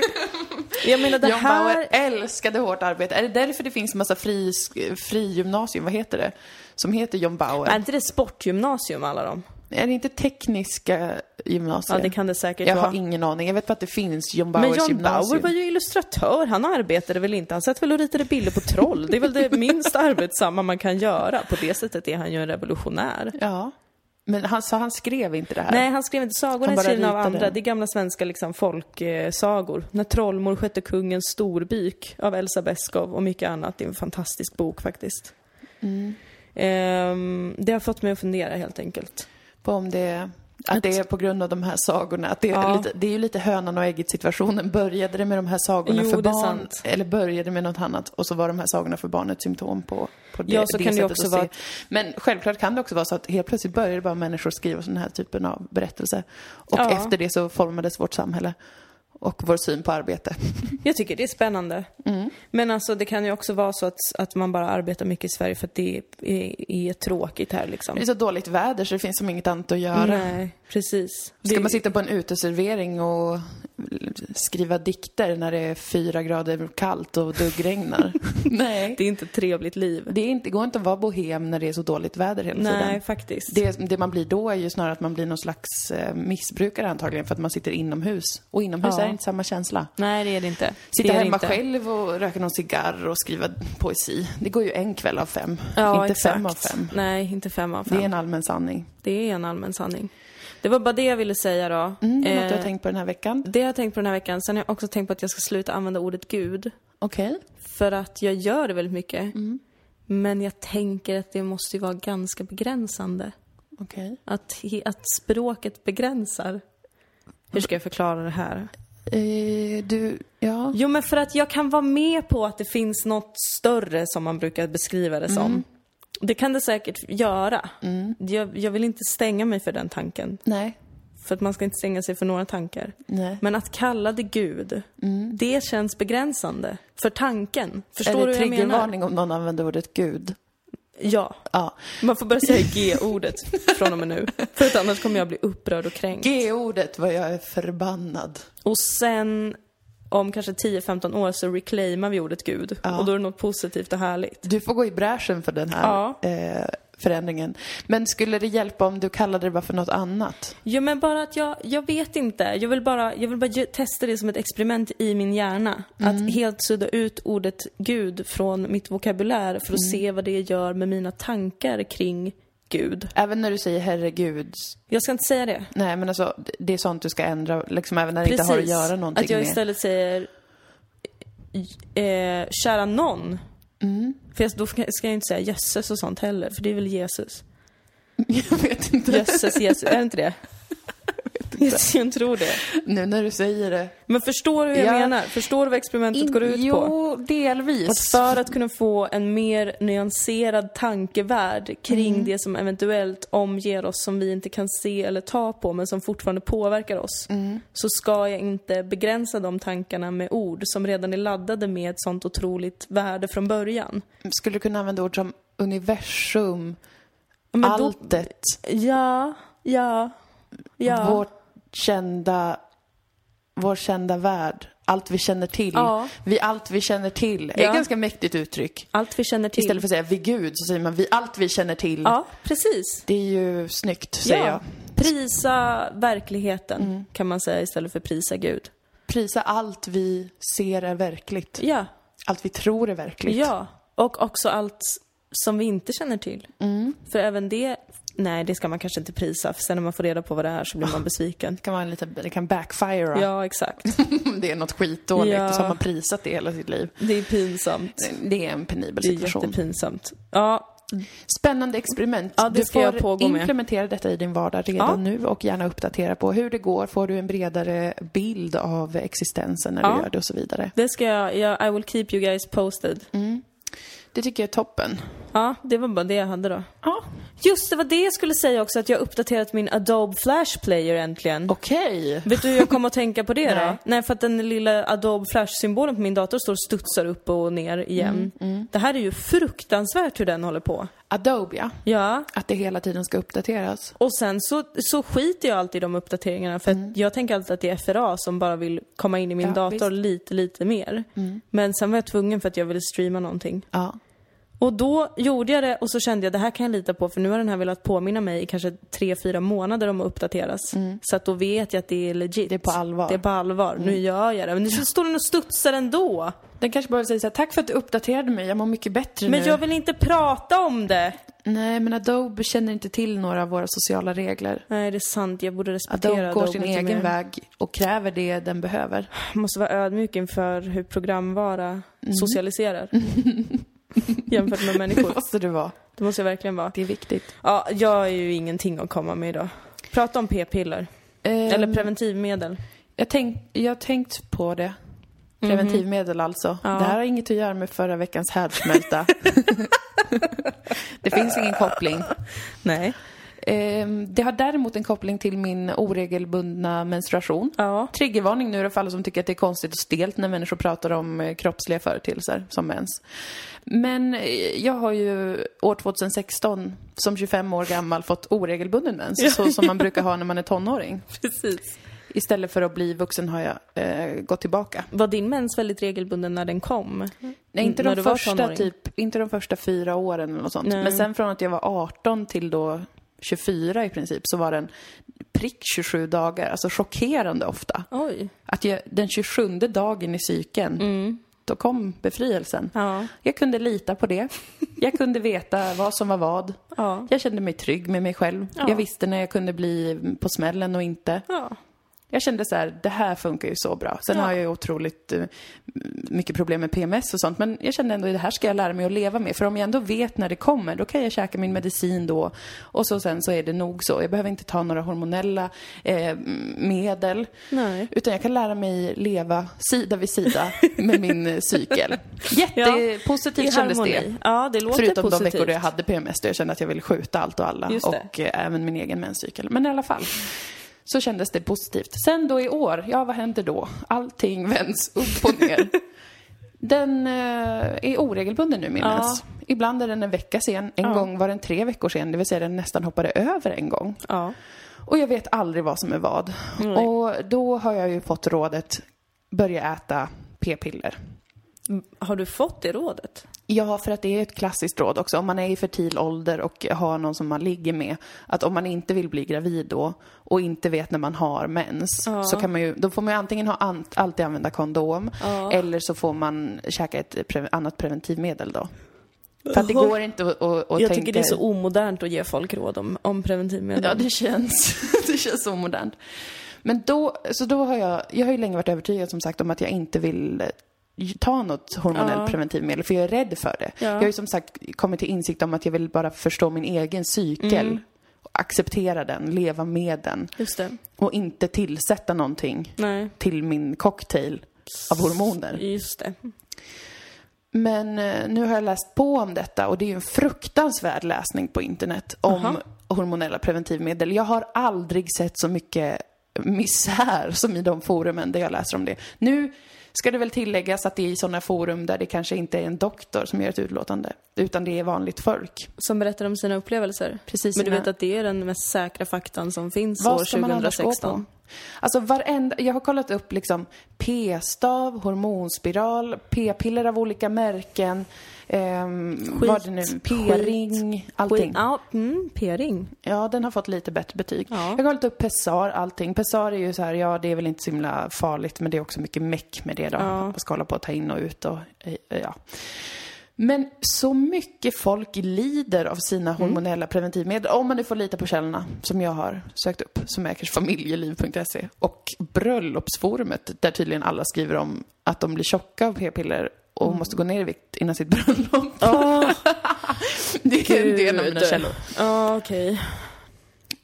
S1: Jag menar det
S2: John Bauer
S1: här
S2: älskade hårt arbete. Är det därför det finns en massa fri, frigymnasium, vad heter det? Som heter John Bauer.
S1: Är inte det sportgymnasium alla de?
S2: Är det inte tekniska gymnasier?
S1: Ja, det kan det säkert
S2: Jag
S1: vara.
S2: har ingen aning. Jag vet bara att det finns John
S1: Men
S2: Bauers
S1: John
S2: gymnasium.
S1: Bauer var ju illustratör, han arbetade väl inte? Han satt väl och ritade bilder på troll? Det är väl det minst arbetsamma man kan göra? På det sättet är han ju en revolutionär.
S2: Ja. Men han, så han skrev inte det här?
S1: Nej, han skrev inte sagorna
S2: Han
S1: är
S2: bara
S1: skrivna av
S2: ritade.
S1: andra. Det är gamla svenska liksom, folksagor. När trollmor skötte kungens storbyk av Elsa Beskow och mycket annat. Det är en fantastisk bok faktiskt.
S2: Mm.
S1: Ehm, det har fått mig att fundera helt enkelt.
S2: På om det... Att det är på grund av de här sagorna. Att det, är
S1: Ja.
S2: lite, det är ju lite hönan och ägget situationen. Började det med de här sagorna
S1: Jo,
S2: för
S1: det är
S2: barn?
S1: sant.
S2: Eller började det med något annat? Och så var de här sagorna för barn ett symptom på, på det,
S1: Ja, så
S2: det
S1: kan det ju
S2: sättet
S1: också
S2: att se.
S1: vara-
S2: Men självklart kan det också vara så att helt plötsligt började bara människor skriva den här typen av berättelse. Och
S1: Ja.
S2: efter det så formades vårt samhälle. Och vår syn på arbete.
S1: Jag tycker det är spännande. Men alltså det kan ju också vara så att, att man bara arbetar mycket i Sverige för att det är, är tråkigt här liksom.
S2: Det är så dåligt väder så det finns som inget annat att göra.
S1: Nej, precis.
S2: Ska
S1: Det-
S2: man sitta på en uteservering och skriva dikter när det är fyra grader kallt och
S1: [LAUGHS]
S2: duggregnar? Nej.
S1: Det är inte ett trevligt liv.
S2: Det, är inte, det går inte att vara bohem när det är så dåligt väder hela
S1: Nej,
S2: tiden.
S1: faktiskt.
S2: alltså, Det, det man blir då är ju snarare att man blir någon slags eh, missbrukare antagligen för att man sitter inomhus. Och inomhus
S1: Ja.
S2: är det inte samma känsla.
S1: Nej, det är det inte.
S2: Sitta
S1: det är det
S2: hemma
S1: inte.
S2: själv och röka någon cigarr och skriva poesi. Det går ju en kväll av fem.
S1: Ja,
S2: inte
S1: exakt.
S2: fem av fem.
S1: Nej, inte fem av fem.
S2: Det är en allmän sanning.
S1: allmän sanning. Det var bara det jag ville säga då.
S2: Mm, något du
S1: Eh,
S2: har tänkt på den här veckan?
S1: Det har jag tänkt på den här veckan. Sen har jag också tänkt på att jag ska sluta använda ordet gud.
S2: Okej.
S1: För att jag gör det väldigt mycket. Men jag tänker att det måste ju vara ganska begränsande.
S2: Okej.
S1: Att, he- att språket begränsar. Hur ska jag förklara det här?
S2: Eh, du, ja.
S1: Jo, men för att jag kan vara med på att det finns något större som man brukar beskriva det som. Det kan det säkert göra. Jag, jag vill inte stänga mig för den tanken.
S2: Nej.
S1: För att man ska inte stänga sig för några tankar.
S2: Nej.
S1: Men att kalla det Gud, det känns begränsande för tanken. Förstår
S2: är
S1: du vad
S2: det
S1: jag menar?
S2: triggervarning om någon använder ordet gud?
S1: Ja,
S2: Ja.
S1: man får börja säga G-ordet från och med nu. För att annars kommer jag bli upprörd och kränkt.
S2: G-ordet vad jag är förbannad.
S1: Och sen om kanske 10-15 år så reclaimar vi ordet gud.
S2: Ja.
S1: Och då är det något positivt och härligt.
S2: Du får gå i bräschen för den här eh, förändringen. Men skulle det hjälpa om du kallade det bara för något annat?
S1: Jo men bara att jag, jag vet inte. Jag vill bara, jag vill bara ge- testa det som ett experiment i min hjärna.
S2: Mm.
S1: Att helt sudda ut ordet gud från mitt vokabulär för att
S2: Mm.
S1: se vad det gör med mina tankar kring Gud.
S2: Även när du säger herregud.
S1: Jag ska inte säga det.
S2: Nej men alltså det är sånt du ska ändra liksom även när det inte har att göra någonting
S1: att jag
S2: med.
S1: istället säger eh, kära någon.
S2: Mm.
S1: För jag, då ska jag inte säga jösses och sånt heller, för det är väl Jesus.
S2: [LAUGHS] Jag vet inte.
S1: Jösses, Jesus, är det inte det? Jag tror det.
S2: Nu när du säger det.
S1: Men förstår du hur jag
S2: Ja.
S1: menar? Förstår du vad experimentet går ut
S2: jo,
S1: på? Att
S2: delvis.
S1: för att kunna få en mer nyanserad tankevärld kring
S2: Mm.
S1: det som eventuellt omger oss som vi inte kan se eller ta på men som fortfarande påverkar oss.
S2: Mm.
S1: Så ska jag inte begränsa de tankarna med ord som redan är laddade med ett sånt otroligt värde från början.
S2: Skulle du kunna använda ord som universum,
S1: Men då-
S2: alltet,
S1: Ja, ja, ja.
S2: vårt kända, vår kända värld, allt vi känner till.
S1: Ja.
S2: Vi allt vi känner till. är
S1: Ja.
S2: ett ganska mäktigt uttryck.
S1: Allt vi känner till.
S2: Istället för att säga vi gud så säger man vi allt vi känner till.
S1: Ja, precis.
S2: Det är ju snyggt säger
S1: ja.
S2: jag.
S1: Prisa verkligheten kan man säga istället för prisa Gud.
S2: Prisa allt vi ser är verkligt.
S1: Ja,
S2: Allt vi tror är verkligt.
S1: ja. Och också allt som vi inte känner till. För även det, nej det ska man kanske inte prisa för sen när man får reda på vad det är så blir man besviken.
S2: Det kan vara en liten, det kan backfira.
S1: Ja, exakt.
S2: Om [LAUGHS] det är något skitdåligt
S1: Ja.
S2: så har man prisat det hela sitt liv.
S1: [LAUGHS] Det är pinsamt.
S2: Det är en penibel
S1: Det är
S2: situation.
S1: jättepinsamt. Ja,
S2: Spännande experiment.
S1: Ja, det
S2: du
S1: ska
S2: får
S1: jag pågå med.
S2: implementera detta i din vardag redan
S1: Ja.
S2: nu och gärna uppdatera på hur det går. Får du en bredare bild av existensen när
S1: Ja.
S2: du gör det och så vidare.
S1: det ska jag, jag, I will keep you guys posted.
S2: Det tycker jag är toppen.
S1: Ja, det var bara det jag hade då.
S2: Ja.
S1: Just det var det jag skulle säga också, att jag har uppdaterat min Adobe Flash Player äntligen.
S2: Okej.
S1: Vet du hur jag kom att tänka på det då?
S2: Nej.
S1: Nej. för att den lilla Adobe Flash-symbolen på min dator står och studsar upp och ner igen.
S2: Mm,
S1: Det här är ju fruktansvärt hur den håller på.
S2: Adobe, ja.
S1: Ja.
S2: Att det hela tiden ska uppdateras.
S1: Och sen så, så skiter jag alltid i de uppdateringarna för att jag tänker alltid att det är FRA som bara vill komma in i min
S2: Mm. Ja,
S1: dator
S2: visst. Mm.
S1: lite, lite mer. Men sen var jag tvungen för att jag ville streama någonting.
S2: Ja.
S1: Och då gjorde jag det och så kände jag det här kan jag lita på för nu har den här velat påminna mig i kanske tre fyra månader om att uppdateras. Så att då vet jag att det är legit.
S2: Mm. Det är på allvar. Mm.
S1: Det är på allvar. Nu gör jag det. Men nu så står den och studsar ändå.
S2: Den kanske bara säger så här, tack för att du uppdaterade mig, jag mår mycket bättre
S1: Men
S2: nu.
S1: jag vill inte prata om det.
S2: Nej, men Adobe känner inte till några av våra sociala regler.
S1: Nej, det är sant. Jag borde respektera
S2: Adobe går sin
S1: lite
S2: egen
S1: mer.
S2: väg och kräver det den behöver.
S1: måste vara ödmjuk inför hur programvara
S2: Mm. [LAUGHS]
S1: socialiserar. Jämfört med
S2: Det
S1: människor.
S2: måste det vara.
S1: [LAUGHS] Det måste jag verkligen vara.
S2: Det är viktigt.
S1: Ja, jag har ju ingenting att komma med idag. Prata om p-piller. Eller
S2: Ehm,
S1: preventivmedel.
S2: Jag, tänk, jag har tänkt på det. Mhm. Preventivmedel alltså. Det här har inget att göra med förra veckans härdsmälta. [LAUGHS] det finns ingen koppling.
S1: Nej.
S2: Ehm, det har däremot en koppling till min oregelbundna menstruation.
S1: Ja.
S2: Triggervarning nu då för alla som tycker att det är konstigt och stelt när människor pratar om eh, kroppsliga företeelser som mens. Men eh, jag har ju år 2016 som 25 år gammal fått oregelbunden mens, så som man brukar ha när man är tonåring.
S1: Precis.
S2: Istället för att bli vuxen har jag eh, gått tillbaka.
S1: Var din mens väldigt regelbunden när den kom?
S2: Nej, inte
S1: N- när du
S2: de,
S1: var
S2: första,
S1: tonåring?
S2: typ, inte de första fyra åren eller något sånt.
S1: Nej.
S2: Men sen från att jag var 18 till då 24 i princip så var den prick 27 dagar. Alltså chockerande ofta.
S1: Oj.
S2: Att jag, den 27 dagen i cykeln, då kom befrielsen.
S1: Ja.
S2: Jag kunde lita på det. Jag kunde veta vad som var vad.
S1: Ja.
S2: Jag kände mig trygg med mig själv.
S1: Ja.
S2: Jag visste när jag kunde bli på smällen och inte.
S1: Ja.
S2: Jag kände så här, det här funkar ju så bra. Sen
S1: Ja.
S2: har jag ju otroligt eh, mycket problem med PMS och sånt. Men jag kände ändå, det här ska jag lära mig att leva med. För om jag ändå vet när det kommer, då kan jag käka min medicin då. Och så sen så är det nog så. Jag behöver inte ta några hormonella eh, medel.
S1: Nej.
S2: Utan jag kan lära mig leva sida
S1: [LAUGHS]
S2: vid sida med min eh, cykel. Jättepositivt
S1: I
S2: Typ kändes det.
S1: harmoni. Ja, det låter
S2: Förutom de
S1: positivt.
S2: veckor då jag hade PMS då jag kände att jag ville skjuta allt och alla.
S1: Just det.
S2: Och eh, även min egen menscykel. Men i alla fall. Så kändes det [LAUGHS] positivt. Sen då i år, ja vad händer då? Allting vänds upp och ner. Den eh, är oregelbunden nu minns. Ibland är den en vecka sen, en
S1: Ja.
S2: gång var den tre veckor sen, det vill säga den nästan hoppade över en gång.
S1: Ja.
S2: Och jag vet aldrig vad som är vad.
S1: Nej.
S2: Och då har jag ju fått rådet, börja äta p-piller. Mm,
S1: Har du fått det rådet?
S2: Ja, för att det är ett klassiskt råd också. Om man är i fertil ålder och har någon som man ligger med, att om man inte vill bli gravid då och inte vet när man har mens,
S1: Ja.
S2: så kan man ju, då får man ju antingen ha an, alltid använda kondom,
S1: Ja.
S2: eller så får man käka ett pre, annat preventivmedel då. För att det går inte att, att,
S1: jag
S2: att tänka...
S1: tycker det är så omodernt att ge folk råd om, om preventivmedel.
S2: Ja, det känns, [LAUGHS] det känns så modernt. Men då, så då har jag, jag har ju länge varit övertygad som sagt om att jag inte vill eh, ta något hormonellt
S1: Ja.
S2: preventivmedel för jag är rädd för det.
S1: Ja.
S2: Jag har ju som sagt kommit till insikt om att jag vill bara förstå min egen cykel.
S1: Mm.
S2: Acceptera den, leva med den
S1: Just det.
S2: och inte tillsätta någonting
S1: Nej,
S2: till min cocktail av hormoner.
S1: just det.
S2: Men eh, nu har jag läst på om detta och det är ju en fruktansvärd läsning på internet om
S1: Aha.
S2: hormonella preventivmedel. Jag har aldrig sett så mycket misär som i de forumen där jag läser om det. Nu ska det väl tilläggas att det är i sådana forum där det kanske inte är en doktor som gör ett utlåtande, utan det är vanligt folk.
S1: Som berättar om sina upplevelser.
S2: Precis
S1: Men du
S2: sina-
S1: vet att det är den mest säkra faktan som finns år
S2: Vad ska man annars gå på?
S1: 2016.
S2: Alltså varenda, jag har kollat upp liksom p-stav, hormonspiral, p-piller av olika märken, ehm, vad det nu,
S1: Skit,
S2: p-ring, allting.
S1: Ja, mm, p-ring.
S2: Ja, den har fått lite bättre betyg.
S1: Ja.
S2: Jag har kollat upp Pessar, allting. Pessar är ju så här, ja det är väl inte så himla farligt men det är också mycket meck med det då.
S1: Ja.
S2: Man ska hålla på att ta in och ut och eh, ja. Men så mycket folk lider av sina
S1: Mm.
S2: hormonella preventivmedel, om man nu får lita på källorna som jag har sökt upp, som är kanske familjeliv.se och bröllopsforumet där tydligen alla skriver om att de blir tjocka av p-piller och
S1: Mm.
S2: måste gå ner i vikt innan sitt bröllop. [LAUGHS] det är en del av
S1: [LAUGHS]
S2: mina
S1: Gud.
S2: källor.
S1: Ja, okej.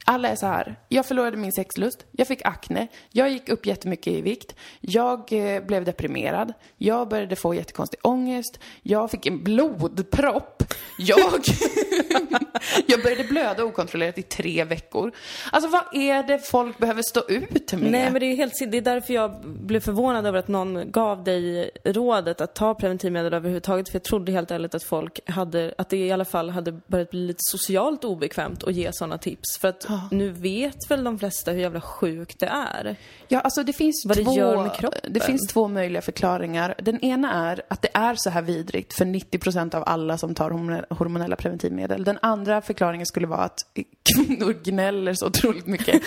S2: Alla är så här. Jag förlorade min sexlust, jag fick akne, jag gick upp jättemycket i vikt, jag eh, blev deprimerad, jag började få jättekonstig ångest, jag fick en blodpropp, jag, [LAUGHS] jag började blöda okontrollerat i tre veckor. Alltså vad är det folk behöver stå ut med?
S1: Nej men det är, ju helt, det är därför jag blev förvånad över att någon gav dig rådet att ta preventivmedel överhuvudtaget. För jag trodde helt ärligt att folk hade, att det i alla fall hade börjat bli lite socialt obekvämt att ge sådana tips. För att nu vet väl de flesta hur jävla sjukt det är.
S2: Ja, alltså det finns,
S1: Vad det
S2: två,
S1: gör med kroppen.
S2: det finns två möjliga förklaringar. Den ena är att det är så här vidrigt för 90% av alla som tar hormone- hormonella preventivmedel. Den andra förklaringen skulle vara att kvinnor gnäller så
S1: [LAUGHS]
S2: otroligt mycket.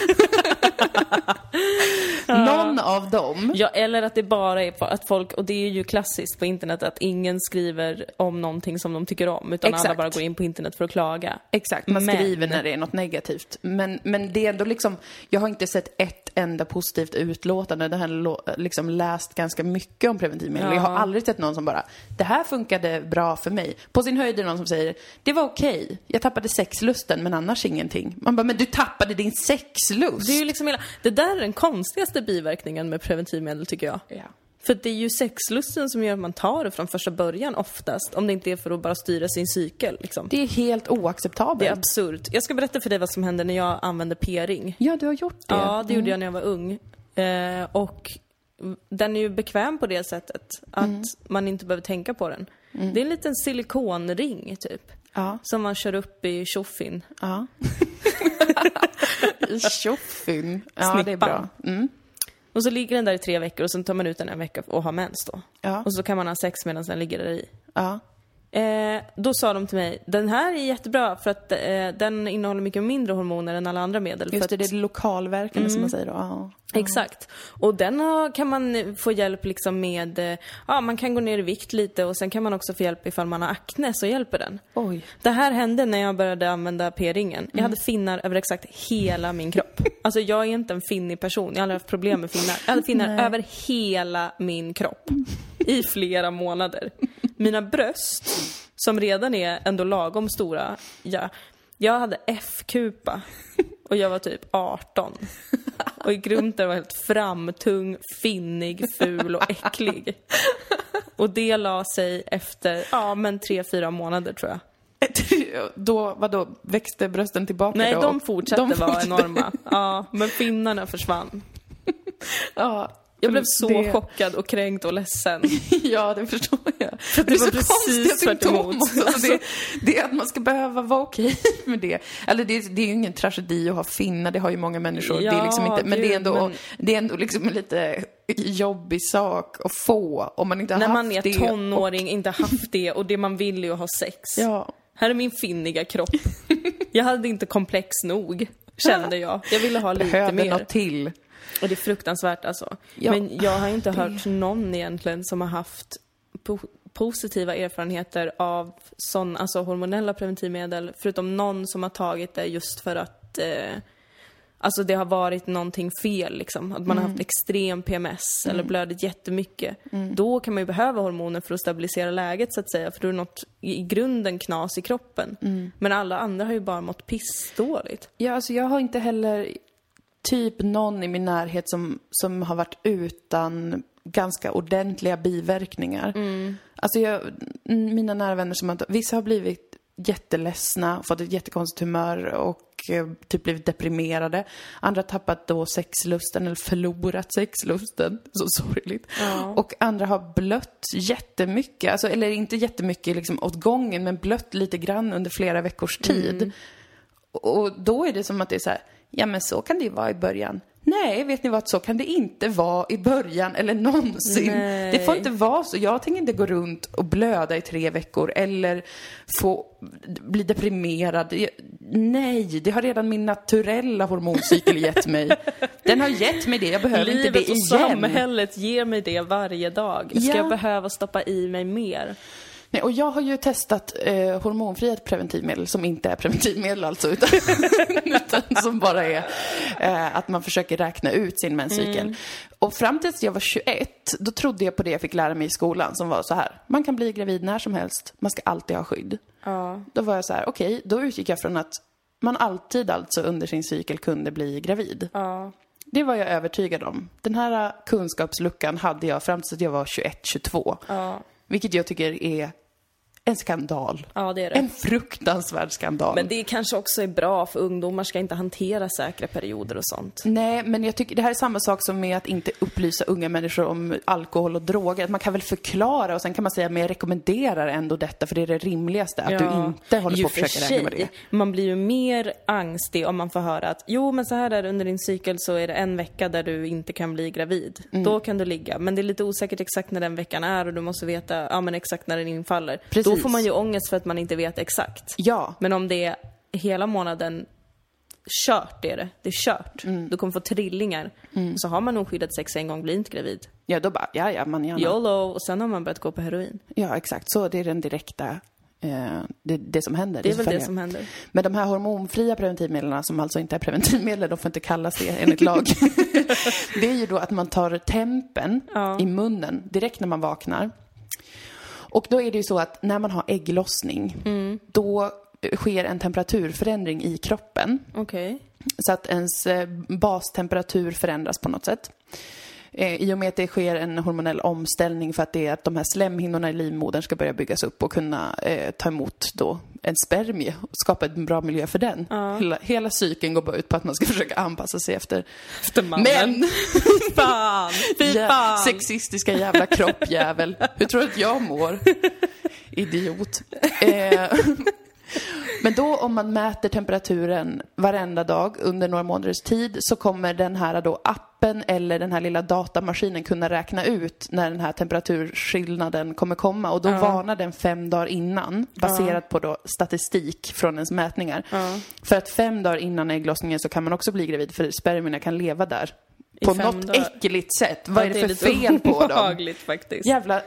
S2: Någon av dem.
S1: Ja, eller att det bara är att folk, och det är ju klassiskt på internet, att ingen skriver om någonting som de tycker om. Utan alla
S2: Exakt.
S1: bara går in på internet för att klaga.
S2: Exakt, man
S1: Men-
S2: skriver när det är något negativt. Men, men det är ändå liksom, jag har inte sett ett enda positivt utlåtande. Jag har lo- liksom läst ganska mycket om preventivmedel.
S1: Ja.
S2: Jag har aldrig sett någon som bara, det här funkade bra för mig. På sin höjd är det någon som säger, det var okej, jag tappade sexlusten men annars ingenting. Man bara, men du tappade din sexlust!
S1: Det är ju liksom hela, det där är den konstigaste biverkningen med preventivmedel tycker jag.
S2: Ja.
S1: För det är ju sexlusten som gör att man tar det från första början oftast. Om det inte är för att bara styra sin cykel liksom.
S2: Det är helt oacceptabelt.
S1: Det är absurt. Jag ska berätta för dig vad som hände när jag använde p-ring. Mm.
S2: Ja, du har gjort det.
S1: Ja, det gjorde jag när jag var ung. Eh, och den är ju bekväm på det sättet att man inte behöver tänka på den. Det är en liten silikonring typ.
S2: Ja.
S1: Som man kör upp i tjoffin.
S2: Ja. Tjoffin. Ja, det är
S1: Snippan.
S2: bra. Mm.
S1: Och så ligger den där i tre veckor och sen tar man ut den en vecka och har mens då.
S2: Ja.
S1: Och så kan man ha sex medan den ligger där i.
S2: Ja.
S1: Eh, då sa de till mig, den här är jättebra för att eh, den innehåller mycket mindre hormoner än alla andra medel.
S2: Just
S1: för
S2: det,
S1: att,
S2: det är lokalverkande som man säger då. Ja.
S1: Exakt. Och den har, kan man eh, få hjälp liksom med, eh, ja man kan gå ner i vikt lite och sen kan man också få hjälp ifall man har akne så hjälper den.
S2: Oj.
S1: Det här hände när jag började använda p-ringen. Jag hade finnar över exakt hela min kropp. Alltså jag är inte en finnig person, jag har aldrig haft problem med finnar. Jag hade finnar över hela min kropp. I flera månader. Mina bröst, som redan är ändå lagom stora, ja, jag hade F-kupa. Och jag var typ 18. Och i grunden var jag helt framtung, finnig, ful och äcklig. Och det la sig efter, ja men tre, fyra månader tror jag.
S2: [LAUGHS] då, vadå, växte brösten tillbaka
S1: Nej,
S2: då?
S1: de
S2: Och [LAUGHS]
S1: fortsatte vara
S2: fortsatte-
S1: enorma. Ja, men finnarna försvann.
S2: Ja,
S1: Jag blev så [LAUGHS]
S2: Det-
S1: chockad och kränkt och ledsen.
S2: Ja, det förstår jag.
S1: För
S2: det, är
S1: var
S2: så
S1: precis
S2: konstiga symptom
S1: tvärtemot.
S2: också. Alltså, det, det är att man ska behöva vara okej med det. Eller det, det är ju ingen tragedi att ha finnar, det har ju många människor. det är
S1: Ja,
S2: liksom inte, men det är
S1: gud,
S2: ändå,
S1: men-
S2: det är ändå liksom en lite jobbig sak att få om man inte har
S1: När
S2: haft
S1: man är
S2: det.
S1: tonåring, inte haft det och det man vill är ju att ha sex.
S2: Ja.
S1: Här är min finniga kropp. Jag hade inte komplex nog, kände jag. Jag ville ha lite
S2: Behöver
S1: mer.
S2: något till.
S1: Och det är fruktansvärt alltså.
S2: Ja,
S1: Men jag har inte hört någon egentligen som har haft po- positiva erfarenheter av sån, alltså hormonella preventivmedel, förutom någon som har tagit det just för att eh, Alltså det har varit någonting fel liksom. Att man har haft extrem PMS eller blödigt jättemycket. Då kan man ju behöva hormoner för att stabilisera läget så att säga. För då är det något i grunden knas i kroppen. Men alla andra har ju bara mått pissdåligt.
S2: Ja, alltså jag har inte heller typ någon i min närhet som, som har varit utan ganska ordentliga biverkningar. Alltså jag, mm, mina nära vänner som har, vissa har blivit jätteledsna, fått ett jättekonstigt humör och eh, typ blivit deprimerade. Andra har tappat då sexlusten eller förlorat sexlusten. Så sorgligt. Och andra har blött jättemycket, alltså, eller inte jättemycket liksom åt gången men blött lite grann under flera veckors tid. Och då är det som att det är så här, ja men så kan det ju vara i början. Nej, vet ni vad, så kan det inte vara i början eller någonsin.
S1: Nej.
S2: Det får inte vara så. Jag tänker inte gå runt och blöda i tre veckor eller få bli deprimerad. Jag- Nej, det har redan min naturella hormoncykel gett mig. Den har gett mig det, jag behöver inte
S1: Livet
S2: det
S1: och
S2: igen.
S1: samhället ger mig det varje dag. Ska
S2: Ja.
S1: jag behöva stoppa i mig mer?
S2: Nej, och jag har ju testat eh, hormonfria preventivmedel som inte är preventivmedel alltså, utan, utan som bara är eh, att man försöker räkna ut sin menscykel. Och fram tills jag var 21, då trodde jag på det jag fick lära mig i skolan som var så här, man kan bli gravid när som helst, man ska alltid ha skydd. Då var jag så här, okej, då utgick jag från att man alltid alltså under sin cykel kunde bli gravid. Det var jag övertygad om. Den här eh, kunskapsluckan hade jag fram tills att jag var 21, 22. Vilket jag tycker är en skandal.
S1: Ja, det är det.
S2: En fruktansvärd skandal.
S1: Men det kanske också är bra för ungdomar ska inte hantera säkra perioder och sånt.
S2: Nej, men jag tycker det här är samma sak som med att inte upplysa unga människor om alkohol och droger. Att man kan väl förklara och sen kan man säga, men jag rekommenderar ändå detta för det är det rimligaste. Att du inte håller
S1: Ju
S2: på att försöka
S1: för
S2: räkna med
S1: sig,
S2: det.
S1: Man blir ju mer angstig om man får höra att jo men så här är det under din cykel så är det en vecka där du inte kan bli gravid.
S2: Mm.
S1: Då kan du ligga. Men det är lite osäkert exakt när den veckan är och du måste veta ja, men exakt när den infaller. Då
S2: Precis.
S1: får man ju ångest för att man inte vet exakt.
S2: Ja,
S1: Men om det är hela månaden kört är det. Det är kört.
S2: Mm.
S1: Du kommer få trillingar. Så har man oskyddat sex en gång, blir inte gravid.
S2: ja då bara, ja ja, man gärna.
S1: YOLO! Och sen har man börjat gå på heroin.
S2: Ja, exakt. Så det är den direkta, eh, det, det som händer.
S1: Det är väl det
S2: följer.
S1: som händer.
S2: Men de här hormonfria preventivmedlen, som alltså inte är preventivmedel, de får inte kallas det enligt lag. det är ju då att man tar tempen i munnen direkt när man vaknar. Och då är det ju så att när man har ägglossning, då eh, sker en temperaturförändring i kroppen.
S1: Okej.
S2: Så att ens eh, bastemperatur förändras på något sätt. Eh, I och med att det sker en hormonell omställning för att det är att de här slemhinnorna i livmodern ska börja byggas upp och kunna eh, ta emot då en spermie och skapa en bra miljö för den. Hela, hela cykeln går bara ut på att man ska försöka anpassa sig efter
S1: Efter mannen.
S2: män.
S1: Fy
S2: [LAUGHS]
S1: fan! Fy
S2: Ja,
S1: fan!
S2: sexistiska jävla kroppjävel. Hur tror du att jag mår? Idiot. Eh, men då om man mäter temperaturen varenda dag under några månaders tid så kommer den här då appen eller den här lilla datamaskinen kunna räkna ut när den här temperaturskillnaden kommer komma och då varnar den fem dagar innan baserat på då statistik från ens mätningar. För att fem dagar innan ägglossningen så kan man också bli gravid för spermierna kan leva där.
S1: I
S2: På
S1: fem
S2: något
S1: dagar.
S2: äckligt sätt. Vad är
S1: Ja,
S2: det för
S1: lite
S2: fel på dem?
S1: obehagligt faktiskt.
S2: Jävla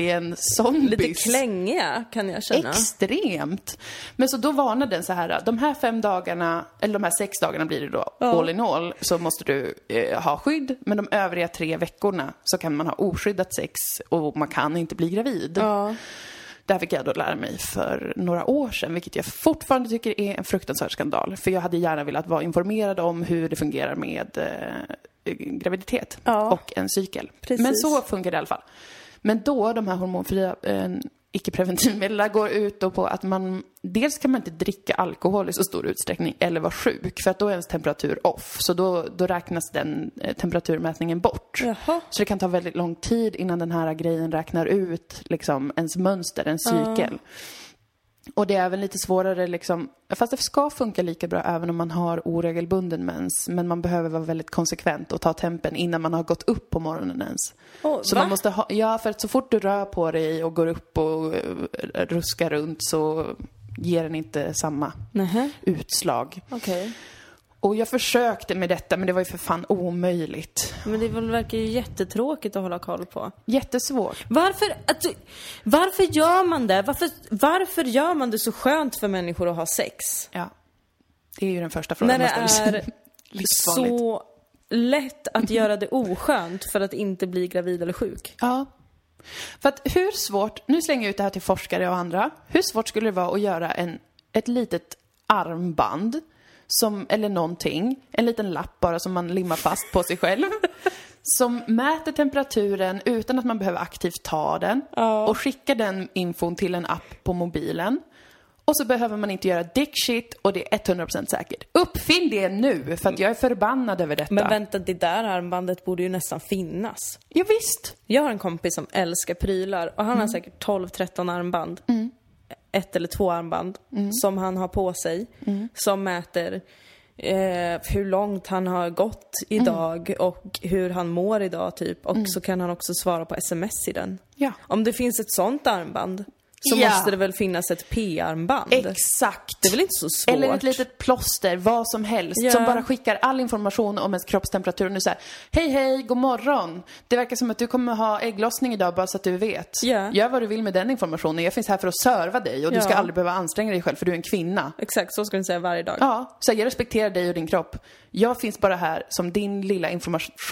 S2: alien-zombies.
S1: Lite klängiga kan jag känna.
S2: Extremt. Men så då varnar den så här, de här fem dagarna, eller de här sex dagarna blir det då, all in all, så måste du eh, ha skydd. Men de övriga tre veckorna så kan man ha oskyddat sex och man kan inte bli gravid. Det här fick jag då lära mig för några år sedan, vilket jag fortfarande tycker är en fruktansvärd skandal. För jag hade gärna velat vara informerad om hur det fungerar med eh, graviditet
S1: Ja.
S2: och en cykel.
S1: Precis.
S2: Men så funkar det i alla fall. Men då, de här hormonfria eh, icke-preventivmedel går ut då på att man dels kan man inte dricka alkohol i så stor utsträckning eller vara sjuk för att då är ens temperatur off. Så då, då räknas den eh, temperaturmätningen bort.
S1: Jaha.
S2: Så det kan ta väldigt lång tid innan den här grejen räknar ut liksom, ens mönster, en cykel. Och det är även lite svårare liksom, fast det ska funka lika bra även om man har oregelbunden mens. Men man behöver vara väldigt konsekvent och ta tempen innan man har gått upp på morgonen ens.
S1: Åh,
S2: så
S1: va?
S2: man måste ha, ja för att så fort du rör på dig och går upp och eh, ruskar runt så ger den inte samma
S1: Nähä.
S2: utslag.
S1: Okej.
S2: Och jag försökte med detta men det var ju för fan omöjligt.
S1: Men det väl- verkar ju jättetråkigt att hålla koll på.
S2: Jättesvårt.
S1: Varför, att, du- varför gör man det? Varför, varför gör man det så skönt för människor att ha sex?
S2: Ja. Det är ju den första
S1: När
S2: frågan
S1: det
S2: man ställer
S1: är
S2: sig. [LAUGHS] Livsfarligt.
S1: så lätt att göra det oskönt för att inte bli gravid eller sjuk.
S2: Ja. För att hur svårt, nu slänger jag ut det här till forskare och andra. Hur svårt skulle det vara att göra en, ett litet armband som, eller någonting, en liten lapp bara som man limmar fast på
S1: [LAUGHS]
S2: sig själv. Som mäter temperaturen utan att man behöver aktivt ta den. Och skickar den infon till en app på mobilen. Och så behöver man inte göra dick shit och det är 100% säkert. Uppfinn det nu för att jag är förbannad över detta.
S1: Mm. Men vänta, det där armbandet borde ju nästan finnas.
S2: Ja, visst.
S1: Jag har en kompis som älskar prylar och han
S2: Mm.
S1: har säkert 12-13 armband. Ett eller två armband
S2: Mm.
S1: som han har på sig. Som mäter eh, hur långt han har gått
S2: Mm.
S1: idag och hur han mår idag typ. Och så kan han också svara på sms i den.
S2: Ja.
S1: Om det finns ett sånt armband så
S2: Ja.
S1: måste det väl finnas ett P-armband?
S2: Exakt.
S1: Det är väl inte så svårt?
S2: Eller ett litet plåster, vad som helst,
S1: Ja.
S2: som bara skickar all information om ens kroppstemperatur. Och nu såhär, hej hej, god morgon. Det verkar som att du kommer ha ägglossning idag bara så att du vet.
S1: Ja.
S2: Gör vad du vill med den informationen, jag finns här för att serva dig och
S1: Ja.
S2: du ska aldrig behöva anstränga dig själv för du är en kvinna.
S1: Exakt, så ska den säga varje dag.
S2: Ja, så här, jag respekterar dig och din kropp. Jag finns bara här som din lilla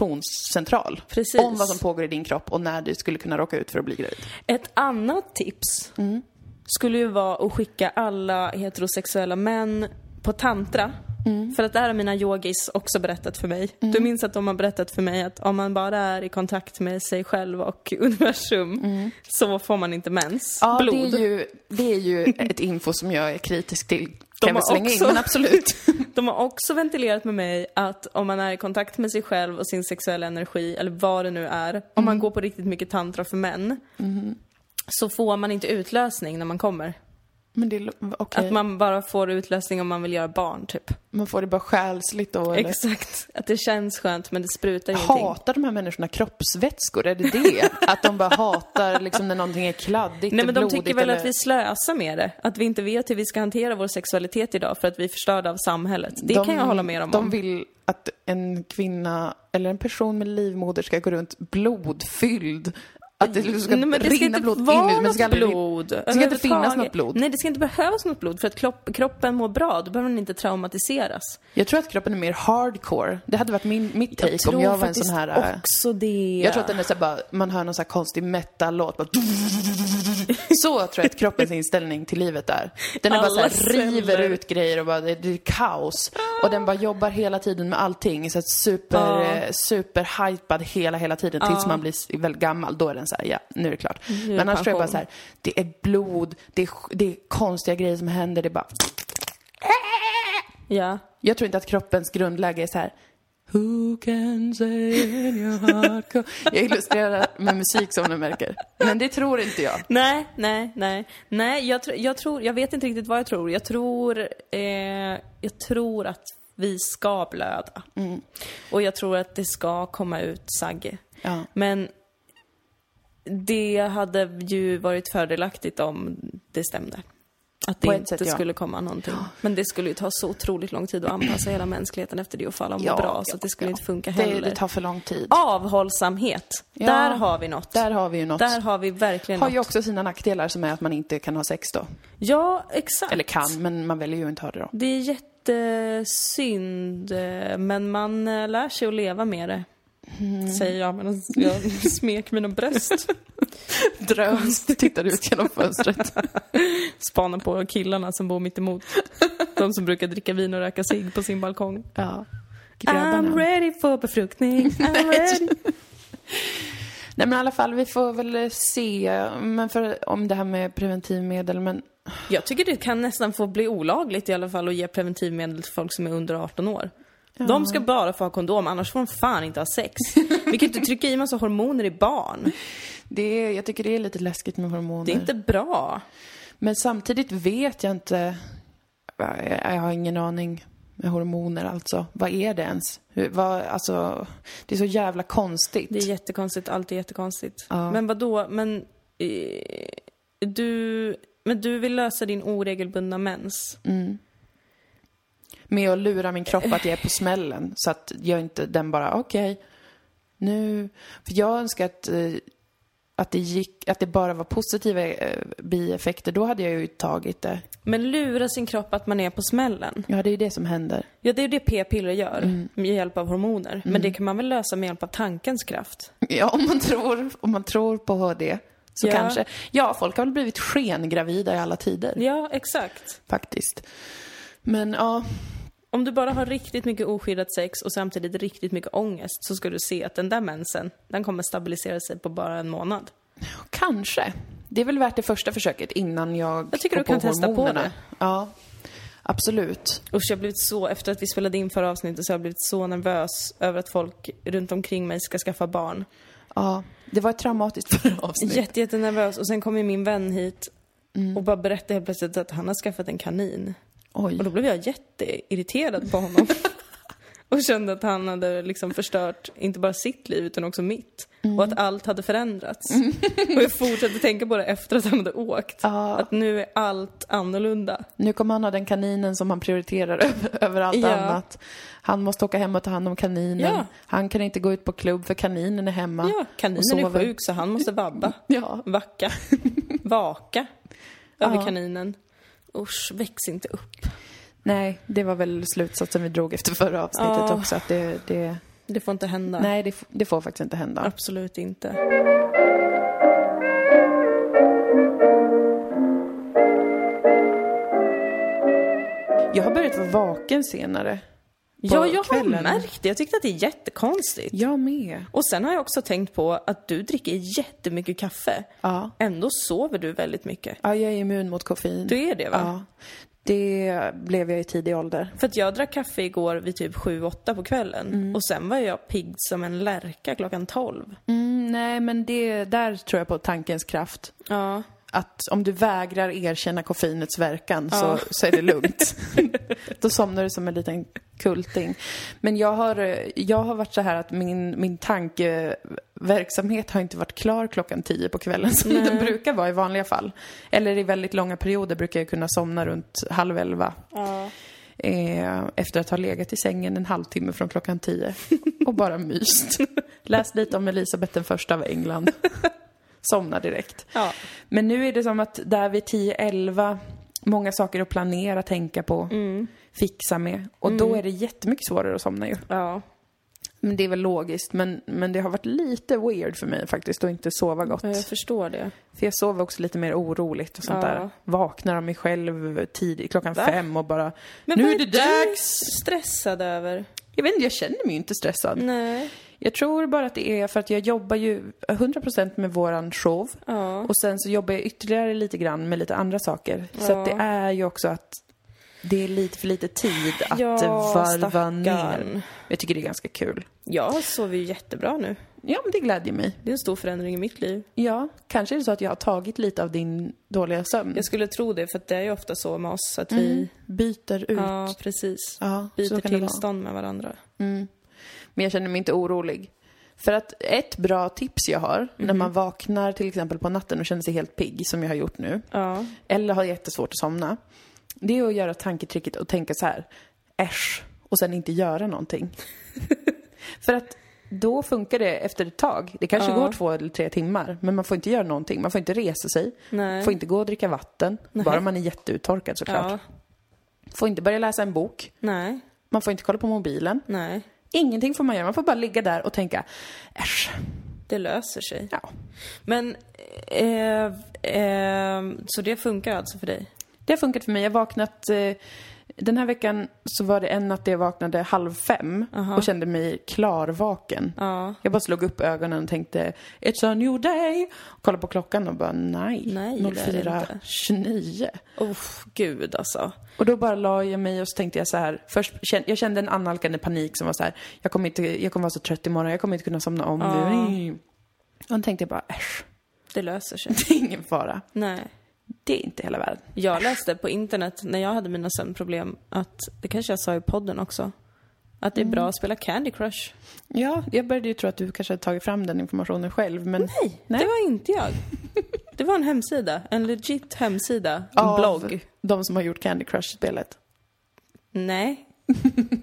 S2: informationscentral.
S1: Precis.
S2: Om vad som pågår i din kropp och när du skulle kunna råka ut för att bli gravid.
S1: Ett annat tips skulle ju vara att skicka alla heterosexuella män på tantra.
S2: Mm.
S1: För att det här har mina yogis också berättat för mig. Du minns att de har berättat för mig att om man bara är i kontakt med sig själv och [LAUGHS] universum så får man inte mens.
S2: Mm. Ja,
S1: Blod.
S2: Det, är ju, det är [LAUGHS] ju ett info som jag är kritisk till.
S1: De
S2: Kan vi
S1: har
S2: slänga
S1: också-
S2: in, men absolut.
S1: De har också ventilerat med mig att om man är i kontakt med sig själv och sin sexuella energi, eller vad det nu är, om
S2: Mm.
S1: man går på riktigt mycket tantra för män, så får man inte utlösning när man kommer.
S2: Men det är lo- okej.
S1: Att man bara får utlösning om man vill göra barn, typ.
S2: Man får det bara själsligt då eller?
S1: Exakt. Att det känns skönt men det sprutar ingenting.
S2: Hatar de här människorna kroppsvätskor? Är
S1: [LAUGHS]
S2: det det? Att de bara hatar liksom när någonting är kladdigt
S1: Nej men de
S2: och blodigt
S1: tycker väl
S2: eller...
S1: att vi slösar med det. Att vi inte vet hur vi ska hantera vår sexualitet idag för att vi är förstörda av samhället. Det
S2: de,
S1: kan jag hålla med dem
S2: De
S1: om.
S2: vill att en kvinna eller en person med livmoder ska gå runt blodfylld. Att det liksom ska
S1: Nej, men det ska
S2: rinna
S1: inte
S2: blod in
S1: vara
S2: men det ska
S1: något
S2: aldrig...
S1: blod.
S2: Det ska inte finnas något blod.
S1: Nej, det ska inte behövas något blod för att kropp, kroppen mår bra. Då behöver den inte traumatiseras.
S2: Jag tror att kroppen är mer hardcore. Det hade varit min, mitt take Typ, om jag var en sån här... äh,
S1: också det.
S2: Jag tror att den är så här bara, man hör någon så här konstig metal-låt bara... [LAUGHS] Så tror jag att kroppens inställning till livet är. Den är bara så här,
S1: Alla celler.
S2: river ut grejer och bara, det, det är kaos. Och den bara jobbar hela tiden med allting. Så att super,
S1: Ja.
S2: eh, superhypad hela, hela tiden. Tills man blir s- väldigt gammal. Då är den så här, ja, nu är det klart. Men annars tror jag bara
S1: pension.
S2: så här, det är blod, det är, sj- det är konstiga grejer som händer. Det är bara...
S1: Ja.
S2: Jag tror inte att kroppens grundläge är så här. Who can say in your heart co-" [LAUGHS] Jag illustrerar med musik som du märker. Men det tror inte jag.
S1: Nej, nej, nej. Nej, jag, tr- jag tror, jag vet inte riktigt vad jag tror. Jag tror, eh, jag tror att vi ska blöda.
S2: Mm.
S1: Och jag tror att det ska komma ut sagg.
S2: Ja.
S1: Men det hade ju varit fördelaktigt om det stämde. Att det
S2: På ett
S1: inte
S2: sätt, ja.
S1: skulle komma någonting. Men det skulle ju ta så otroligt lång tid att anpassa hela mänskligheten efter det och få alla att må bra. Så att det skulle inte funka
S2: det,
S1: heller.
S2: det tar för lång tid.
S1: Avhållsamhet. Där har vi något.
S2: Där har vi ju något.
S1: Där har vi verkligen
S2: har
S1: något.
S2: ju också sina nackdelar som är att man inte kan ha sex då.
S1: Ja, exakt.
S2: Eller kan, men man väljer ju inte ha det då.
S1: Det är jättesynd, eh, men man eh, lär sig att leva med det.
S2: Mm.
S1: Säger jag medan jag
S2: [LAUGHS]
S1: smek mina bröst.
S2: Drömst tittar ut genom fönstret.
S1: [LAUGHS] Spanar på killarna som bor mitt emot. De som brukar dricka vin och röka cigg på sin balkong.
S2: Ja.
S1: I'm
S2: Grabbarna.
S1: ready for befruktning, I'm ready.
S2: Nej men i alla fall, vi får väl se men för, om det här med preventivmedel. Men
S1: Jag tycker det kan nästan få bli olagligt i alla fall att ge preventivmedel till folk som är under 18 år. De ska bara få ha kondom, annars får de fan inte ha sex. Vi kan inte trycka i massa hormoner i barn.
S2: det är, jag tycker det är lite läskigt med hormoner.
S1: Det är inte bra.
S2: Men samtidigt vet jag inte. Jag jag har ingen aning med hormoner alltså. Vad är det ens? Hur, vad, alltså, det är så jävla konstigt.
S1: Det är jättekonstigt, allt är jättekonstigt. Men vad då? men eh, du, men du vill lösa din oregelbundna mens?
S2: Mm. Med att lura min kropp att jag är på smällen. Så att jag inte, den bara, okej, nu. För jag önskar att, eh, att, det gick, att det bara var positiva eh, bieffekter. Då hade jag ju tagit det.
S1: Men lura sin kropp att man är på smällen?
S2: Ja, det är ju det som händer.
S1: Ja, det är ju det p-piller gör med hjälp av hormoner. Men det kan man väl lösa med hjälp av tankens kraft?
S2: [LAUGHS] Ja, om man tror, om man tror på det. Så
S1: Ja.
S2: kanske. Ja, folk har väl blivit skengravida i alla tider.
S1: Ja, exakt.
S2: faktiskt. Men ja,
S1: Om du bara har riktigt mycket oskyddat sex och samtidigt riktigt mycket ångest så ska du se att den där mensen, den kommer stabilisera sig på bara en månad.
S2: kanske. Det är väl värt det första försöket innan jag
S1: Jag tycker
S2: går
S1: du kan testa på
S2: hormonerna.
S1: det.
S2: Ja, absolut.
S1: Usch, jag har blivit så, efter att vi spelade in förra avsnittet så har jag blivit så nervös över att folk runt omkring mig ska skaffa barn.
S2: Ja, det var ett traumatiskt [LAUGHS] förra avsnitt.
S1: Jätte, jättenervös och sen kom ju min vän hit och bara berättade helt plötsligt att han har skaffat en kanin.
S2: Oj.
S1: Och då blev jag jätteirriterad på honom. [LAUGHS] och kände att han hade liksom förstört inte bara sitt liv utan också mitt. Och
S2: Mm.
S1: att allt hade förändrats. och jag fortsatte tänka på det efter att han hade åkt. Att nu är allt annorlunda.
S2: Nu kommer han ha den kaninen som han prioriterar [LAUGHS] över, över allt
S1: Ja.
S2: annat. Han måste åka hem och ta hand om kaninen.
S1: Ja.
S2: Han kan inte gå ut på klubb för kaninen är hemma.
S1: Ja,
S2: och
S1: kaninen är
S2: sover.
S1: sjuk så han måste vabba.
S2: Ja.
S1: Vacka. Vaka. Över
S2: [LAUGHS] Ja.
S1: kaninen. Usch, väx inte upp.
S2: Nej, det var väl slutsatsen vi drog efter förra avsnittet
S1: Ja.
S2: också. Att det, det...
S1: Det får inte hända.
S2: Nej, det, f- det får faktiskt inte hända.
S1: Absolut inte.
S2: Jag har börjat vara vaken senare.
S1: Ja, jag har
S2: kvällen.
S1: märkt det. Jag tyckte att det är jättekonstigt.
S2: Jag med.
S1: Och sen har jag också tänkt på att du dricker jättemycket kaffe.
S2: Ja.
S1: Ändå sover du väldigt mycket.
S2: Ja, jag är immun mot koffein.
S1: Du är det va?
S2: Ja. Det blev jag i tidig ålder.
S1: För att jag drack kaffe igår vid typ 7-8 på kvällen. Och sen var jag pigg som en lärka klockan 12.
S2: Mm, nej, men det, där tror jag på tankens kraft.
S1: Ja.
S2: Att om du vägrar erkänna koffeinets verkan så, så är det lugnt. Då somnar du som en liten kulting. Men jag har, eh, jag har varit så här att min, min tankeverksamhet har inte varit klar klockan tio på kvällen som den brukar vara i vanliga fall. Eller i väldigt långa perioder brukar jag kunna somna runt halv elva. Eh, efter att ha legat i sängen en halvtimme från klockan tio och bara myst. Läst lite om Elisabeth den första av England. Somnar direkt.
S1: Ja.
S2: Men nu är det som att där vid 10-11, många saker att planera, tänka på, fixa med. Och då är det jättemycket svårare att somna ju.
S1: Ja.
S2: Mm. Men det är väl logiskt, men, men det har varit lite weird för mig faktiskt att inte sova gott.
S1: Jag förstår det.
S2: För jag sover också lite mer oroligt och sånt
S1: Ja.
S2: där. Vaknar av mig själv tidigt, klockan
S1: Va?
S2: fem och bara
S1: Men
S2: Nu
S1: vad
S2: är det
S1: du
S2: dags!
S1: stressad över?
S2: Jag vet inte, jag känner mig ju inte stressad.
S1: Nej.
S2: Jag tror bara att det är för att jag jobbar ju 100% med våran show.
S1: Ja.
S2: Och sen så jobbar jag ytterligare lite grann med lite andra saker. Så
S1: Ja.
S2: att det är ju också att det är lite för lite tid att
S1: Ja,
S2: varva
S1: stackarn.
S2: ner. Jag tycker det är ganska kul.
S1: Jag sover ju jättebra nu.
S2: Ja, men det glädjer mig.
S1: Det är en stor förändring i mitt
S2: Mm.
S1: liv.
S2: Ja, kanske är det så att jag har tagit lite av din dåliga sömn.
S1: Jag skulle tro det, för att det är ju ofta så med oss att
S2: Mm.
S1: vi...
S2: Byter ut.
S1: Ja, precis.
S2: Ja,
S1: Byter
S2: så kan det vara.
S1: tillstånd med varandra.
S2: Men jag känner mig inte orolig. För att ett bra tips jag har när
S1: Mhm.
S2: man vaknar till exempel på natten och känner sig helt pigg, som jag har gjort nu,
S1: Ja.
S2: eller har jättesvårt att somna. Det är att göra tanketricket och tänka så här, äsch, och sen inte
S1: [LAUGHS]
S2: göra någonting. För att då funkar det efter ett tag. Det kanske går två eller tre timmar, men man får inte göra någonting. Man får inte resa sig,
S1: Nej.
S2: får inte gå och dricka vatten, bara man är jätteuttorkad såklart.
S1: Ja.
S2: Får inte börja läsa en bok,
S1: Nej.
S2: man får inte kolla på mobilen.
S1: Nej.
S2: Ingenting får man göra, man får bara ligga där och tänka, äsch,
S1: Det löser sig.
S2: ja.
S1: Men, eh, eh, så det funkar alltså för dig?
S2: Det har funkat för mig. Jag har vaknat eh, Den här veckan så var det en natt jag vaknade halv fem och kände mig klarvaken.
S1: Ja.
S2: Jag bara slog upp ögonen och tänkte It's a new day! Och kollade på klockan och bara nej,
S1: Nej, det är det inte.
S2: 04.29.
S1: Oh, gud alltså.
S2: Och då bara la jag mig och så tänkte jag så här, först kän- jag kände en annalkande panik som var så här, jag kommer inte, jag kommer vara så trött imorgon, jag kommer inte kunna somna om nu. Och då tänkte jag bara äsch, [LAUGHS]
S1: Det löser [LAUGHS] sig.
S2: det är ingen fara.
S1: Nej.
S2: Det är inte hela världen.
S1: Jag läste på internet när jag hade mina sömnproblem att, det kanske jag sa i podden också, att det är bra att spela Candy Crush.
S2: Ja, jag började ju tro att du kanske hade tagit fram den informationen själv, men
S1: Nej, det var inte jag. Det var en hemsida, en legit hemsida, en
S2: av
S1: blogg.
S2: de som har gjort Candy Crush-spelet.
S1: [LAUGHS] Nej.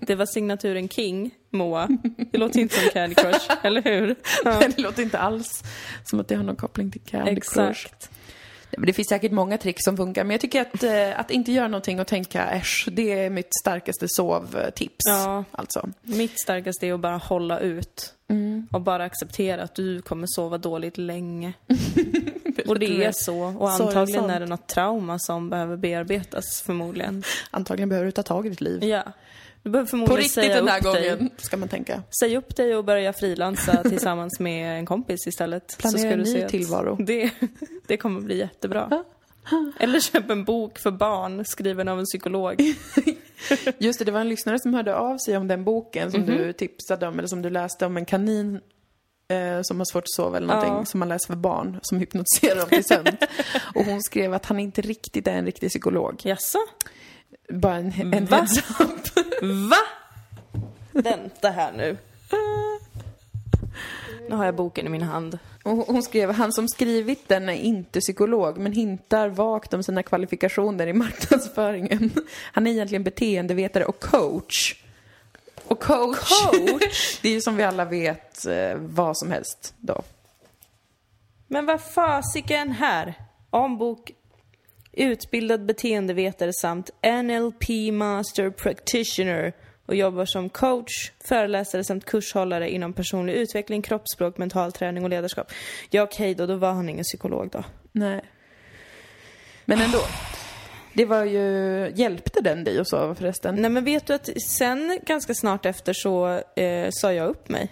S1: Det var signaturen King, Moa. Det låter inte som Candy Crush, [LAUGHS] eller hur? Ja.
S2: [LAUGHS] Det låter inte alls som att det har någon koppling till Candy Crush.
S1: Exakt.
S2: Ja, men Det finns säkert många trick som funkar, men jag tycker att, eh, att inte göra någonting och tänka äsch, det är mitt starkaste sovtips.
S1: Ja.
S2: Alltså.
S1: Mitt starkaste är att bara hålla ut.
S2: Mm.
S1: Och bara acceptera att du kommer sova dåligt
S2: [LAUGHS]
S1: länge. och det är så. Och
S2: Sorgsamt.
S1: antagligen är det något trauma som behöver bearbetas förmodligen.
S2: Antagligen behöver du ta tag i ditt liv.
S1: Ja. Du behöver
S2: Mm. På
S1: förmodligen
S2: riktigt
S1: säga
S2: den där
S1: upp dig.
S2: gången, ska man tänka.
S1: Säg upp dig och börja frilansa [LAUGHS] tillsammans med en kompis istället.
S2: Planera en ny
S1: att
S2: tillvaro.
S1: Det, [LAUGHS] det kommer bli jättebra. Eller köp en bok för barn skriven av en
S2: [LAUGHS]
S1: psykolog.
S2: Just det, det var en lyssnare som hörde av sig om den boken som
S1: Mhm.
S2: du tipsade om, eller som du läste om en kanin eh, som har svårt att sova eller någonting,
S1: Ja.
S2: som man läser för barn, som hypnotiserar dem
S1: [LAUGHS]
S2: till sömn. och hon skrev att han inte riktigt är en riktig psykolog.
S1: Jaså?
S2: Bara en, en
S1: Va?
S2: heads up.
S1: Va? Vänta här nu. Nu har jag boken i min hand.
S2: [LAUGHS] Och hon skrev, han som skrivit den är inte psykolog men hintar vagt om sina kvalifikationer i marknadsföringen. Han är egentligen beteendevetare och coach. Och coach, [LAUGHS] det är ju som vi alla vet eh, vad som helst då.
S1: Men vad fasiken här? Om bok utbildad beteendevetare samt NLP master practitioner och jobbar som coach, föreläsare samt kurshållare inom personlig utveckling, kroppsspråk, mental träning och ledarskap. Ja okej då, då var han ingen psykolog då.
S2: Nej. Men ändå. Det var ju, hjälpte den dig att sova förresten?
S1: Nej men vet du att sen ganska snart efter så eh, sa jag upp mig.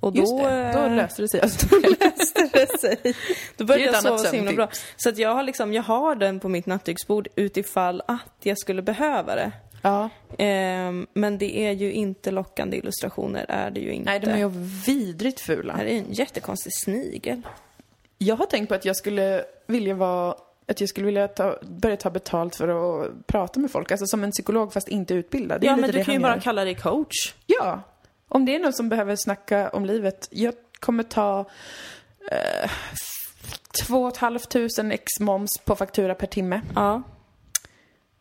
S1: Och då,
S2: Just det, då
S1: eh,
S2: löste det sig. Alltså.
S1: löste [LAUGHS] det sig. Då började
S2: Det är ett
S1: jag sova
S2: annat
S1: så himla bra. Så att jag har liksom, jag har den på mitt nattduksbord utifall att jag skulle behöva det.
S2: [LAUGHS] Ja.
S1: Ehm, men det är ju inte lockande illustrationer, är det ju inte.
S2: Nej, de är ju vidrigt
S1: Det
S2: fula.
S1: här är ju en jättekonstig snigel.
S2: Jag har tänkt på att jag skulle vilja vara att jag skulle vilja ta, börja ta betalt för att prata med folk, alltså som en psykolog fast inte utbildad. Det är
S1: Ja,
S2: lite
S1: men
S2: det
S1: du kan ju
S2: han
S1: bara
S2: gör.
S1: kalla dig coach.
S2: Ja! Om det är någon som behöver snacka om livet, jag kommer ta eh, två och ett halvt tusen ex moms på faktura per timme.
S1: Ja,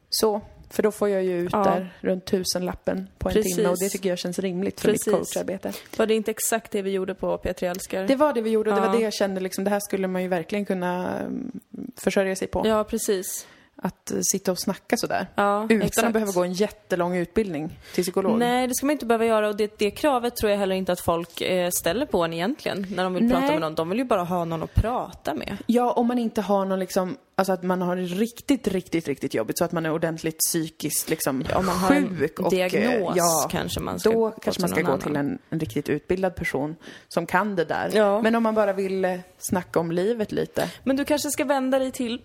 S2: Så, för då får jag ju ut
S1: Ja.
S2: där runt tusenlappen på en
S1: Precis.
S2: timme och det tycker jag känns rimligt för
S1: Precis.
S2: mitt coacharbete.
S1: var det inte exakt det vi gjorde på P3 Älskar?
S2: Det var det vi gjorde och det
S1: Ja.
S2: var det jag kände liksom, det här skulle man ju verkligen kunna mm, försörja sig på.
S1: Ja, precis.
S2: Att eh, sitta och snacka sådär.
S1: Ja,
S2: Utan
S1: exakt.
S2: att behöva gå en jättelång utbildning till psykolog.
S1: Nej, det ska man inte behöva göra och det, det kravet tror jag heller inte att folk eh, ställer på en egentligen när de vill prata
S2: Nej.
S1: med någon. De vill ju bara ha någon att prata med.
S2: Ja, om man inte har någon liksom, alltså att man har det riktigt, riktigt, riktigt jobbigt så att man är ordentligt psykiskt liksom
S1: Typ, om man har en
S2: sjuk. och, eh,
S1: diagnos kanske man ska
S2: Då
S1: gå
S2: kanske man
S1: till
S2: ska
S1: någon
S2: gå till en, en riktigt utbildad person som kan det där.
S1: Ja.
S2: Men om man bara vill eh, snacka om livet lite.
S1: Men du kanske ska vända dig till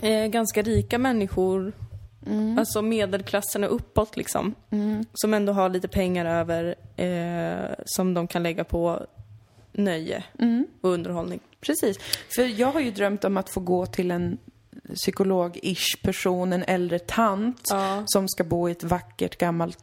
S1: eh, ganska rika människor,
S2: Mm.
S1: alltså medelklassen och uppåt liksom. Som ändå har lite pengar över eh, som de kan lägga på nöje
S2: Mm.
S1: och underhållning.
S2: Precis. För jag har ju drömt om att få gå till en psykolog-ish person, en äldre tant
S1: Ja.
S2: som ska bo i ett vackert gammalt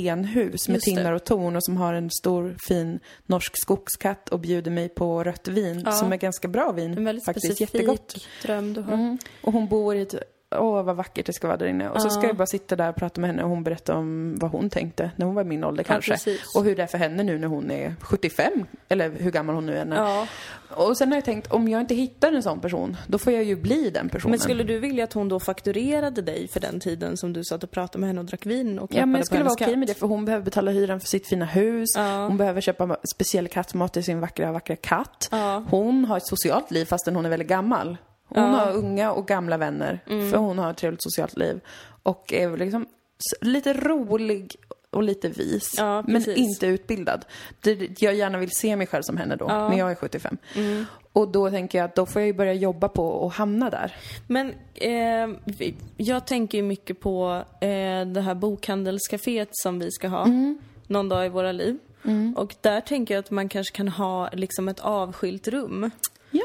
S2: stenhus med
S1: Just det.
S2: tinnar och torn och som har en stor fin norsk skogskatt och bjuder mig på rött vin
S1: Ja.
S2: som är ganska bra vin
S1: En väldigt
S2: faktiskt,
S1: specifik
S2: jättegott. Mm.
S1: dröm du har.
S2: Och hon bor i ett Åh, vad vackert det ska vara där inne. Och så ska jag bara sitta där och prata med henne och hon berättar om vad hon tänkte när hon var i min ålder kanske.
S1: precis.
S2: och hur det är för henne nu när hon är 75, eller hur gammal hon nu är. När,
S1: Ja.
S2: och sen har jag tänkt, om jag inte hittar en sån person, då får jag ju bli den personen.
S1: Men skulle du vilja att hon då fakturerade dig för den tiden som du satt och pratade med henne och drack vin och
S2: Ja, men
S1: klappade
S2: jag
S1: på
S2: skulle
S1: hennes
S2: vara okej
S1: katt?
S2: med det, för hon behöver betala hyran för sitt fina hus.
S1: Ja.
S2: Hon behöver köpa ma- speciell kattmat till sin vackra, vackra katt.
S1: Ja.
S2: Hon har ett socialt liv
S1: Mm.
S2: fastän hon är väldigt gammal. Hon har unga och gamla vänner, för hon har ett trevligt socialt liv. och är väl liksom s- lite rolig och lite vis.
S1: Ja,
S2: men
S1: precis.
S2: inte utbildad. Det- Jag gärna vill se mig själv som henne då, när jag är 75.
S1: Mm.
S2: Och då tänker jag att då får jag ju börja jobba på att hamna där.
S1: Men eh, vi- jag tänker ju mycket på eh, det här bokhandelscaféet som vi ska ha någon dag i våra liv. Och där tänker jag att man kanske kan ha liksom ett avskilt rum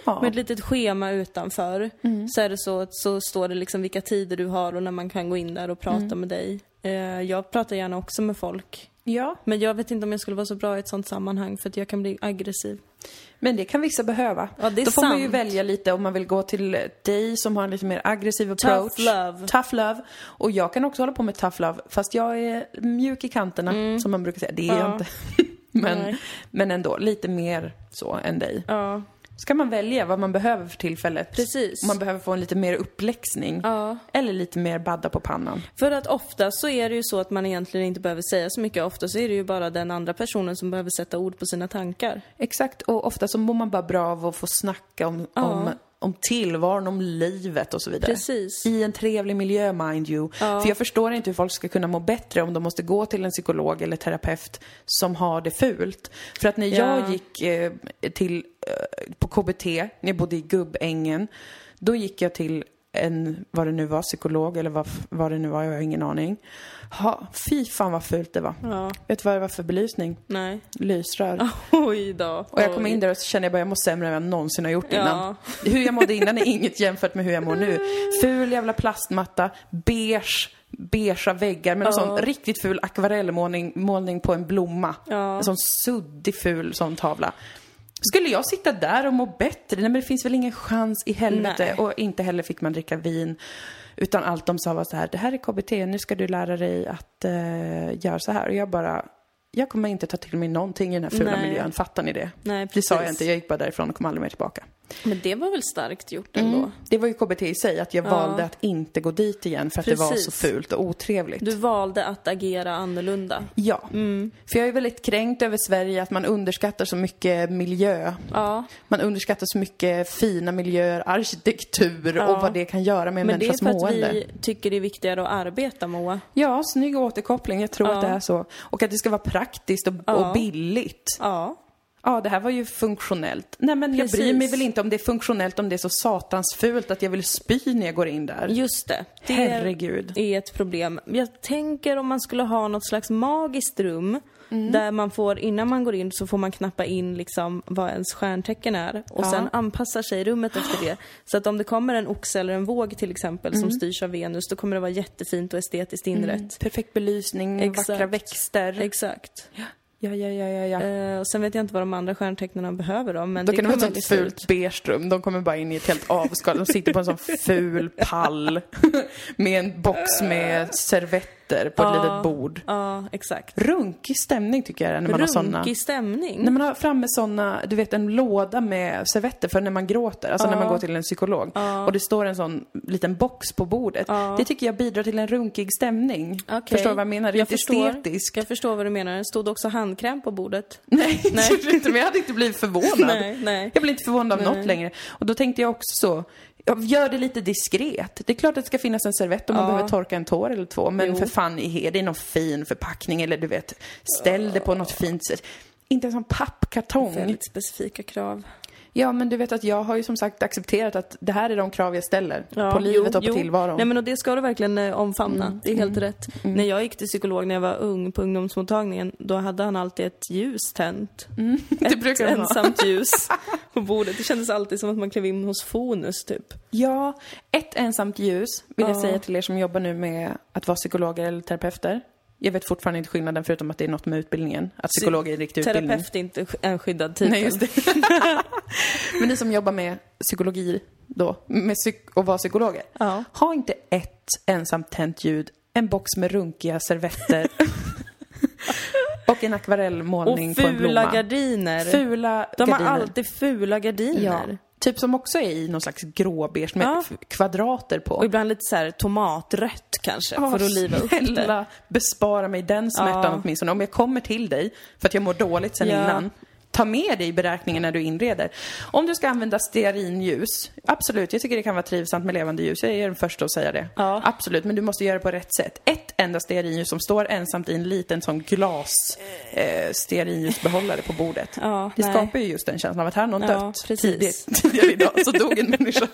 S2: Ja.
S1: med ett litet schema utanför. Så är det så att så står det liksom vilka tider du har och när man kan gå in där och prata med dig. Eh, jag pratar gärna också med folk.
S2: ja.
S1: Men jag vet inte om jag skulle vara så bra i ett sånt sammanhang för att jag kan bli aggressiv.
S2: Men det kan vissa behöva.
S1: Ja, det är
S2: Då får man ju
S1: sant.
S2: välja lite om man vill gå till dig som har en lite mer aggressiv
S1: Tough
S2: approach.
S1: love.
S2: Tough love. Och jag kan också hålla på med tough love, fast jag är mjuk i kanterna som man brukar säga. Det är jag
S1: Mm. Ja.
S2: inte. [LAUGHS] men,
S1: Nej.
S2: men ändå, lite mer så än dig.
S1: Ja,
S2: Ska man välja vad man behöver för tillfället.
S1: Precis.
S2: Om man behöver få en lite mer uppläxning.
S1: Ja.
S2: Eller lite mer badda på pannan.
S1: För att ofta så är det ju så att man egentligen inte behöver säga så mycket. Ofta så är det ju bara den andra personen som behöver sätta ord på sina tankar.
S2: Exakt, och ofta så mår man bara bra av att få snacka om, om, om tillvaron, om livet och så vidare.
S1: Precis.
S2: I en trevlig miljö, mind you. För jag förstår inte hur folk ska kunna må bättre om de måste gå till en psykolog eller terapeut som har det fult. För att när jag
S1: Ja.
S2: gick eh, till, eh, på KBT, när jag bodde i Gubbängen, då gick jag till en, vad det nu var, psykolog eller vad, f- vad det nu var, jag har ingen aning. Ha, fy fan vad fult det var.
S1: Ja.
S2: Vet du vad det var för belysning?
S1: Nej.
S2: Lysrör.
S1: [LAUGHS] Oj då.
S2: Och jag kom in där och så kände jag bara jag mår sämre än jag någonsin har gjort
S1: Ja.
S2: innan. Hur jag mådde innan är inget jämfört med hur jag mår nu. Ful jävla plastmatta, beige, beigea väggar med en sån riktigt ful akvarellmålning målning på en blomma. En sån suddig ful sån tavla. Skulle jag sitta där och må bättre? Nej men det finns väl ingen chans i helvete.
S1: Nej.
S2: Och inte heller fick man dricka vin. Utan allt de sa var så här, det här är KBT, nu ska du lära dig att eh, göra så här. Och jag bara, jag kommer inte ta till mig någonting i den här fula
S1: Nej.
S2: miljön, fattar ni det?
S1: Nej,
S2: det sa jag
S1: precis.
S2: inte, jag gick bara därifrån och kom aldrig mer tillbaka.
S1: Men det var väl starkt gjort ändå?
S2: Det var ju KBT i sig, att jag valde att inte gå dit igen för att det var så
S1: Precis.
S2: fult och otrevligt.
S1: Du Mm. valde att agera annorlunda.
S2: Ja, för jag är väldigt kränkt över Sverige att man underskattar så mycket miljö.
S1: Ja.
S2: Man underskattar så mycket fina miljöer, arkitektur och vad det kan göra med en
S1: Men det är
S2: människas
S1: för att
S2: mående.
S1: vi tycker det är viktigare att arbeta Moa.
S2: Ja, snygg återkoppling. Jag tror att det är så. Och att det ska vara praktiskt och, och billigt.
S1: Ja.
S2: Ja, det här var ju funktionellt. Nej, men jag bryr
S1: Precis.
S2: mig väl inte om det är funktionellt om det är så satans fult att jag vill spy när jag går in där.
S1: Just det. Det
S2: Herregud.
S1: är ett problem. Jag tänker om man skulle ha något slags magiskt rum där man får, innan man går in så får man knappa in liksom vad ens stjärntecken är och sen anpassar sig rummet efter det. Så att om det kommer en oxe eller en våg till exempel
S2: Mm.
S1: som styrs av Venus då kommer det vara jättefint och estetiskt inrett.
S2: Perfekt belysning,
S1: Exakt.
S2: Mm. vackra växter.
S1: Exakt.
S2: ja, ja, ja, ja. ja.
S1: Eh, och sen vet jag inte vad de andra stjärntecknarna behöver då men
S2: Då
S1: det
S2: kan det vara
S1: kommer
S2: ett sånt
S1: lista ut.
S2: fult beige rum. De kommer bara in i ett helt avskal. De sitter [LAUGHS] på en sån ful pall med en box med servetter på ett litet bord.
S1: Ja, exakt.
S2: Runkig stämning tycker jag det är när man har såna.
S1: Runkig stämning.
S2: När man har framme såna, du vet en låda med servetter för när man gråter, alltså när man går till en psykolog. Och det står en sån liten box på bordet. Det tycker jag bidrar till en runkig stämning.
S1: Okej.
S2: Förstår du vad jag menar? Det är
S1: Jag
S2: inte
S1: förstår.
S2: estetiskt.
S1: Jag förstår vad du menar. Stod det också handkräm på bordet?
S2: Nej, det
S1: [LAUGHS] Nej.
S2: gjorde det inte, men [LAUGHS] jag hade inte blivit förvånad.
S1: Nej, nej.
S2: Jag blir inte förvånad av något längre. Och då tänkte jag också så, ja, gör det lite diskret. Det är klart att det ska finnas en servett om man behöver torka en tår eller två. Men för fan, ge det i någon fin förpackning eller du vet, ställ det på något fint sätt. Inte en sån pappkartong.
S1: Väldigt specifika krav.
S2: Ja, men du vet att jag har ju som sagt accepterat att det här är de krav jag ställer på livet och på tillvaron. Mm.
S1: Nej men och det ska du verkligen eh, omfamna. Det är helt rätt. När jag gick till psykolog när jag var ung på ungdomsmottagningen, då hade han alltid ett ljus tänt.
S2: [LAUGHS] det brukar de ha.
S1: Ensamt
S2: [LAUGHS]
S1: ljus på bordet. Det kändes alltid som att man klev in hos Fonus typ.
S2: Ja, ett ensamt ljus vill jag
S1: Ja.
S2: säga till er som jobbar nu med att vara psykologer eller terapeuter. Jag vet fortfarande inte skillnaden förutom att det är något med utbildningen. Att psykolog är en riktig utbildning.
S1: Terapeut är inte sk- en skyddad titel.
S2: [LAUGHS] Nej, just det. [LAUGHS] Men ni som jobbar med psykologi då, med psyk- och vara psykologer.
S1: Ja.
S2: Ha inte ett ensamt tänt ljud, en box med runkiga
S1: [LAUGHS]
S2: servetter och en
S1: Och
S2: akvarellmålning på en blomma.
S1: fula gardiner.
S2: Fula
S1: De har
S2: gardiner.
S1: alltid fula
S2: Ja.
S1: gardiner.
S2: Typ som också är i någon slags gråbeige med
S1: Ja.
S2: f- kvadrater på.
S1: Och ibland lite så här tomatrött kanske, för att liva upp det.
S2: Snälla, bespara mig den smärtan åtminstone. Om jag kommer till dig för att jag mår dåligt sen
S1: Ja.
S2: innan. ta med dig i beräkningen när du inreder. Om du ska använda stearinljus, absolut, jag tycker det kan vara trivsamt med levande ljus. Jag är den första att säga det.
S1: Ja.
S2: Absolut, men du måste göra det på rätt sätt. Ett enda stearinljus som står ensamt i en liten sån glas eh, stearinljusbehållare på bordet.
S1: Ja,
S2: det
S1: nej.
S2: skapar ju just den känslan av att här har någon
S1: Ja,
S2: dött
S1: precis.
S2: tidigt, [LAUGHS] tidigare idag, så dog en människa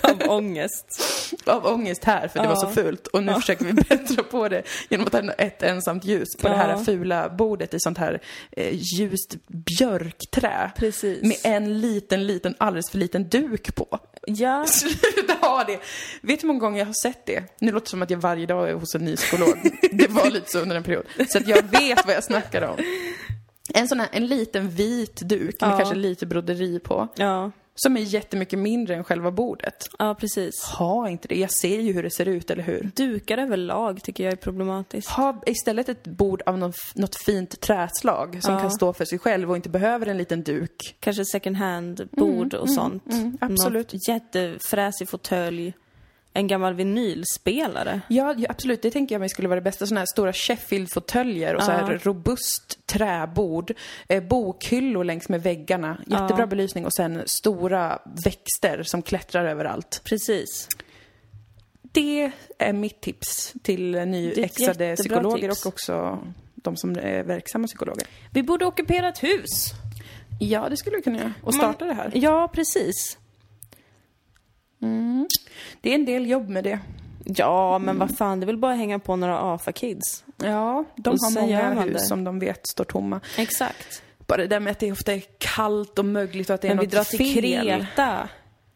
S1: Av ångest.
S2: av ångest här för det
S1: Ja.
S2: var så fult och nu försöker vi [LAUGHS] bättra på det genom att ha ett ensamt ljus på det här
S1: Ja.
S2: fula bordet i sånt här eh, ljust björkträ.
S1: Precis.
S2: Med en liten, liten, alldeles för liten duk på. [LAUGHS]
S1: Ja.
S2: Sluta ha det! Vet du hur många gånger jag har sett det? Nu låter det som att jag varje dag är hos en
S1: [LAUGHS]
S2: ny psykolog. Det var lite så under en period. Så att jag vet vad jag snackar om. En sån här, en liten vit duk med
S1: Ja.
S2: kanske lite broderi på.
S1: Ja.
S2: Som är jättemycket mindre än själva bordet.
S1: Ja, precis.
S2: Ha inte det, jag ser ju hur det ser ut, eller hur?
S1: Dukar överlag tycker jag är problematiskt.
S2: Ha istället ett bord av någon, f- något fint träslag som
S1: Ja.
S2: kan stå för sig själv och inte behöver en liten duk.
S1: Kanske second hand-bord och sånt.
S2: mm, absolut.
S1: Något jättefräsig fåtölj. En gammal vinylspelare.
S2: Ja, ja, absolut. Det tänker jag mig skulle vara det bästa. Sådana här stora Sheffield-fåtöljer och så här robust träbord. Eh, bokhyllor längs med väggarna. Jättebra belysning och sen stora växter som klättrar överallt.
S1: Precis.
S2: Det är mitt tips till nyexade
S1: jättebra
S2: psykologer
S1: tips.
S2: och också de som är verksamma psykologer.
S1: Vi borde ockupera ett hus.
S2: Ja, det skulle vi kunna göra. Och starta det här.
S1: Ja, precis.
S2: Det är en del jobb med det.
S1: Ja, men vad fan, det är väl bara att hänga på några AFA-kids.
S2: Ja, de
S1: Och
S2: har
S1: sen gör
S2: många
S1: man
S2: hus
S1: det.
S2: som de vet står tomma.
S1: Exakt.
S2: Bara det där med att det ofta är kallt och mögligt och att det är
S1: Men vi
S2: något
S1: drar till
S2: fel.
S1: Kreta.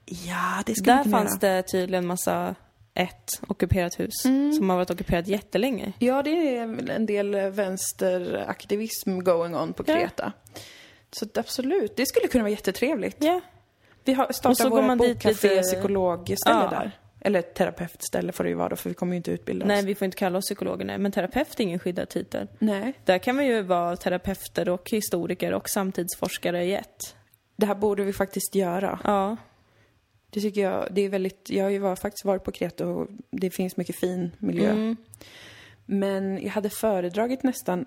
S2: Ja, det skulle
S1: Där fanns det tydligen massa ett ockuperat hus som har varit ockuperat jättelänge.
S2: Ja, det är väl en del eh, vänsteraktivism going on på
S1: Ja.
S2: Kreta. Så att absolut, det skulle kunna vara jättetrevligt.
S1: Ja.
S2: Vi har
S1: Och så
S2: startat
S1: går
S2: våra
S1: man dit
S2: bokcafé,
S1: lite-
S2: psykologställe
S1: Ja.
S2: där. Eller terapeutställe får det ju vara då, för vi kommer ju inte utbilda
S1: Nej,
S2: oss.
S1: vi får inte kalla oss psykologer, nej. Men terapeut är ingen skyddad titel.
S2: Nej.
S1: Där kan vi ju vara terapeuter och historiker och samtidsforskare i ett.
S2: Det här borde vi faktiskt göra.
S1: Ja.
S2: Det tycker jag, det är väldigt, jag har ju var, faktiskt varit på Kreta och det finns mycket fin miljö.
S1: Mm.
S2: Men jag hade föredragit nästan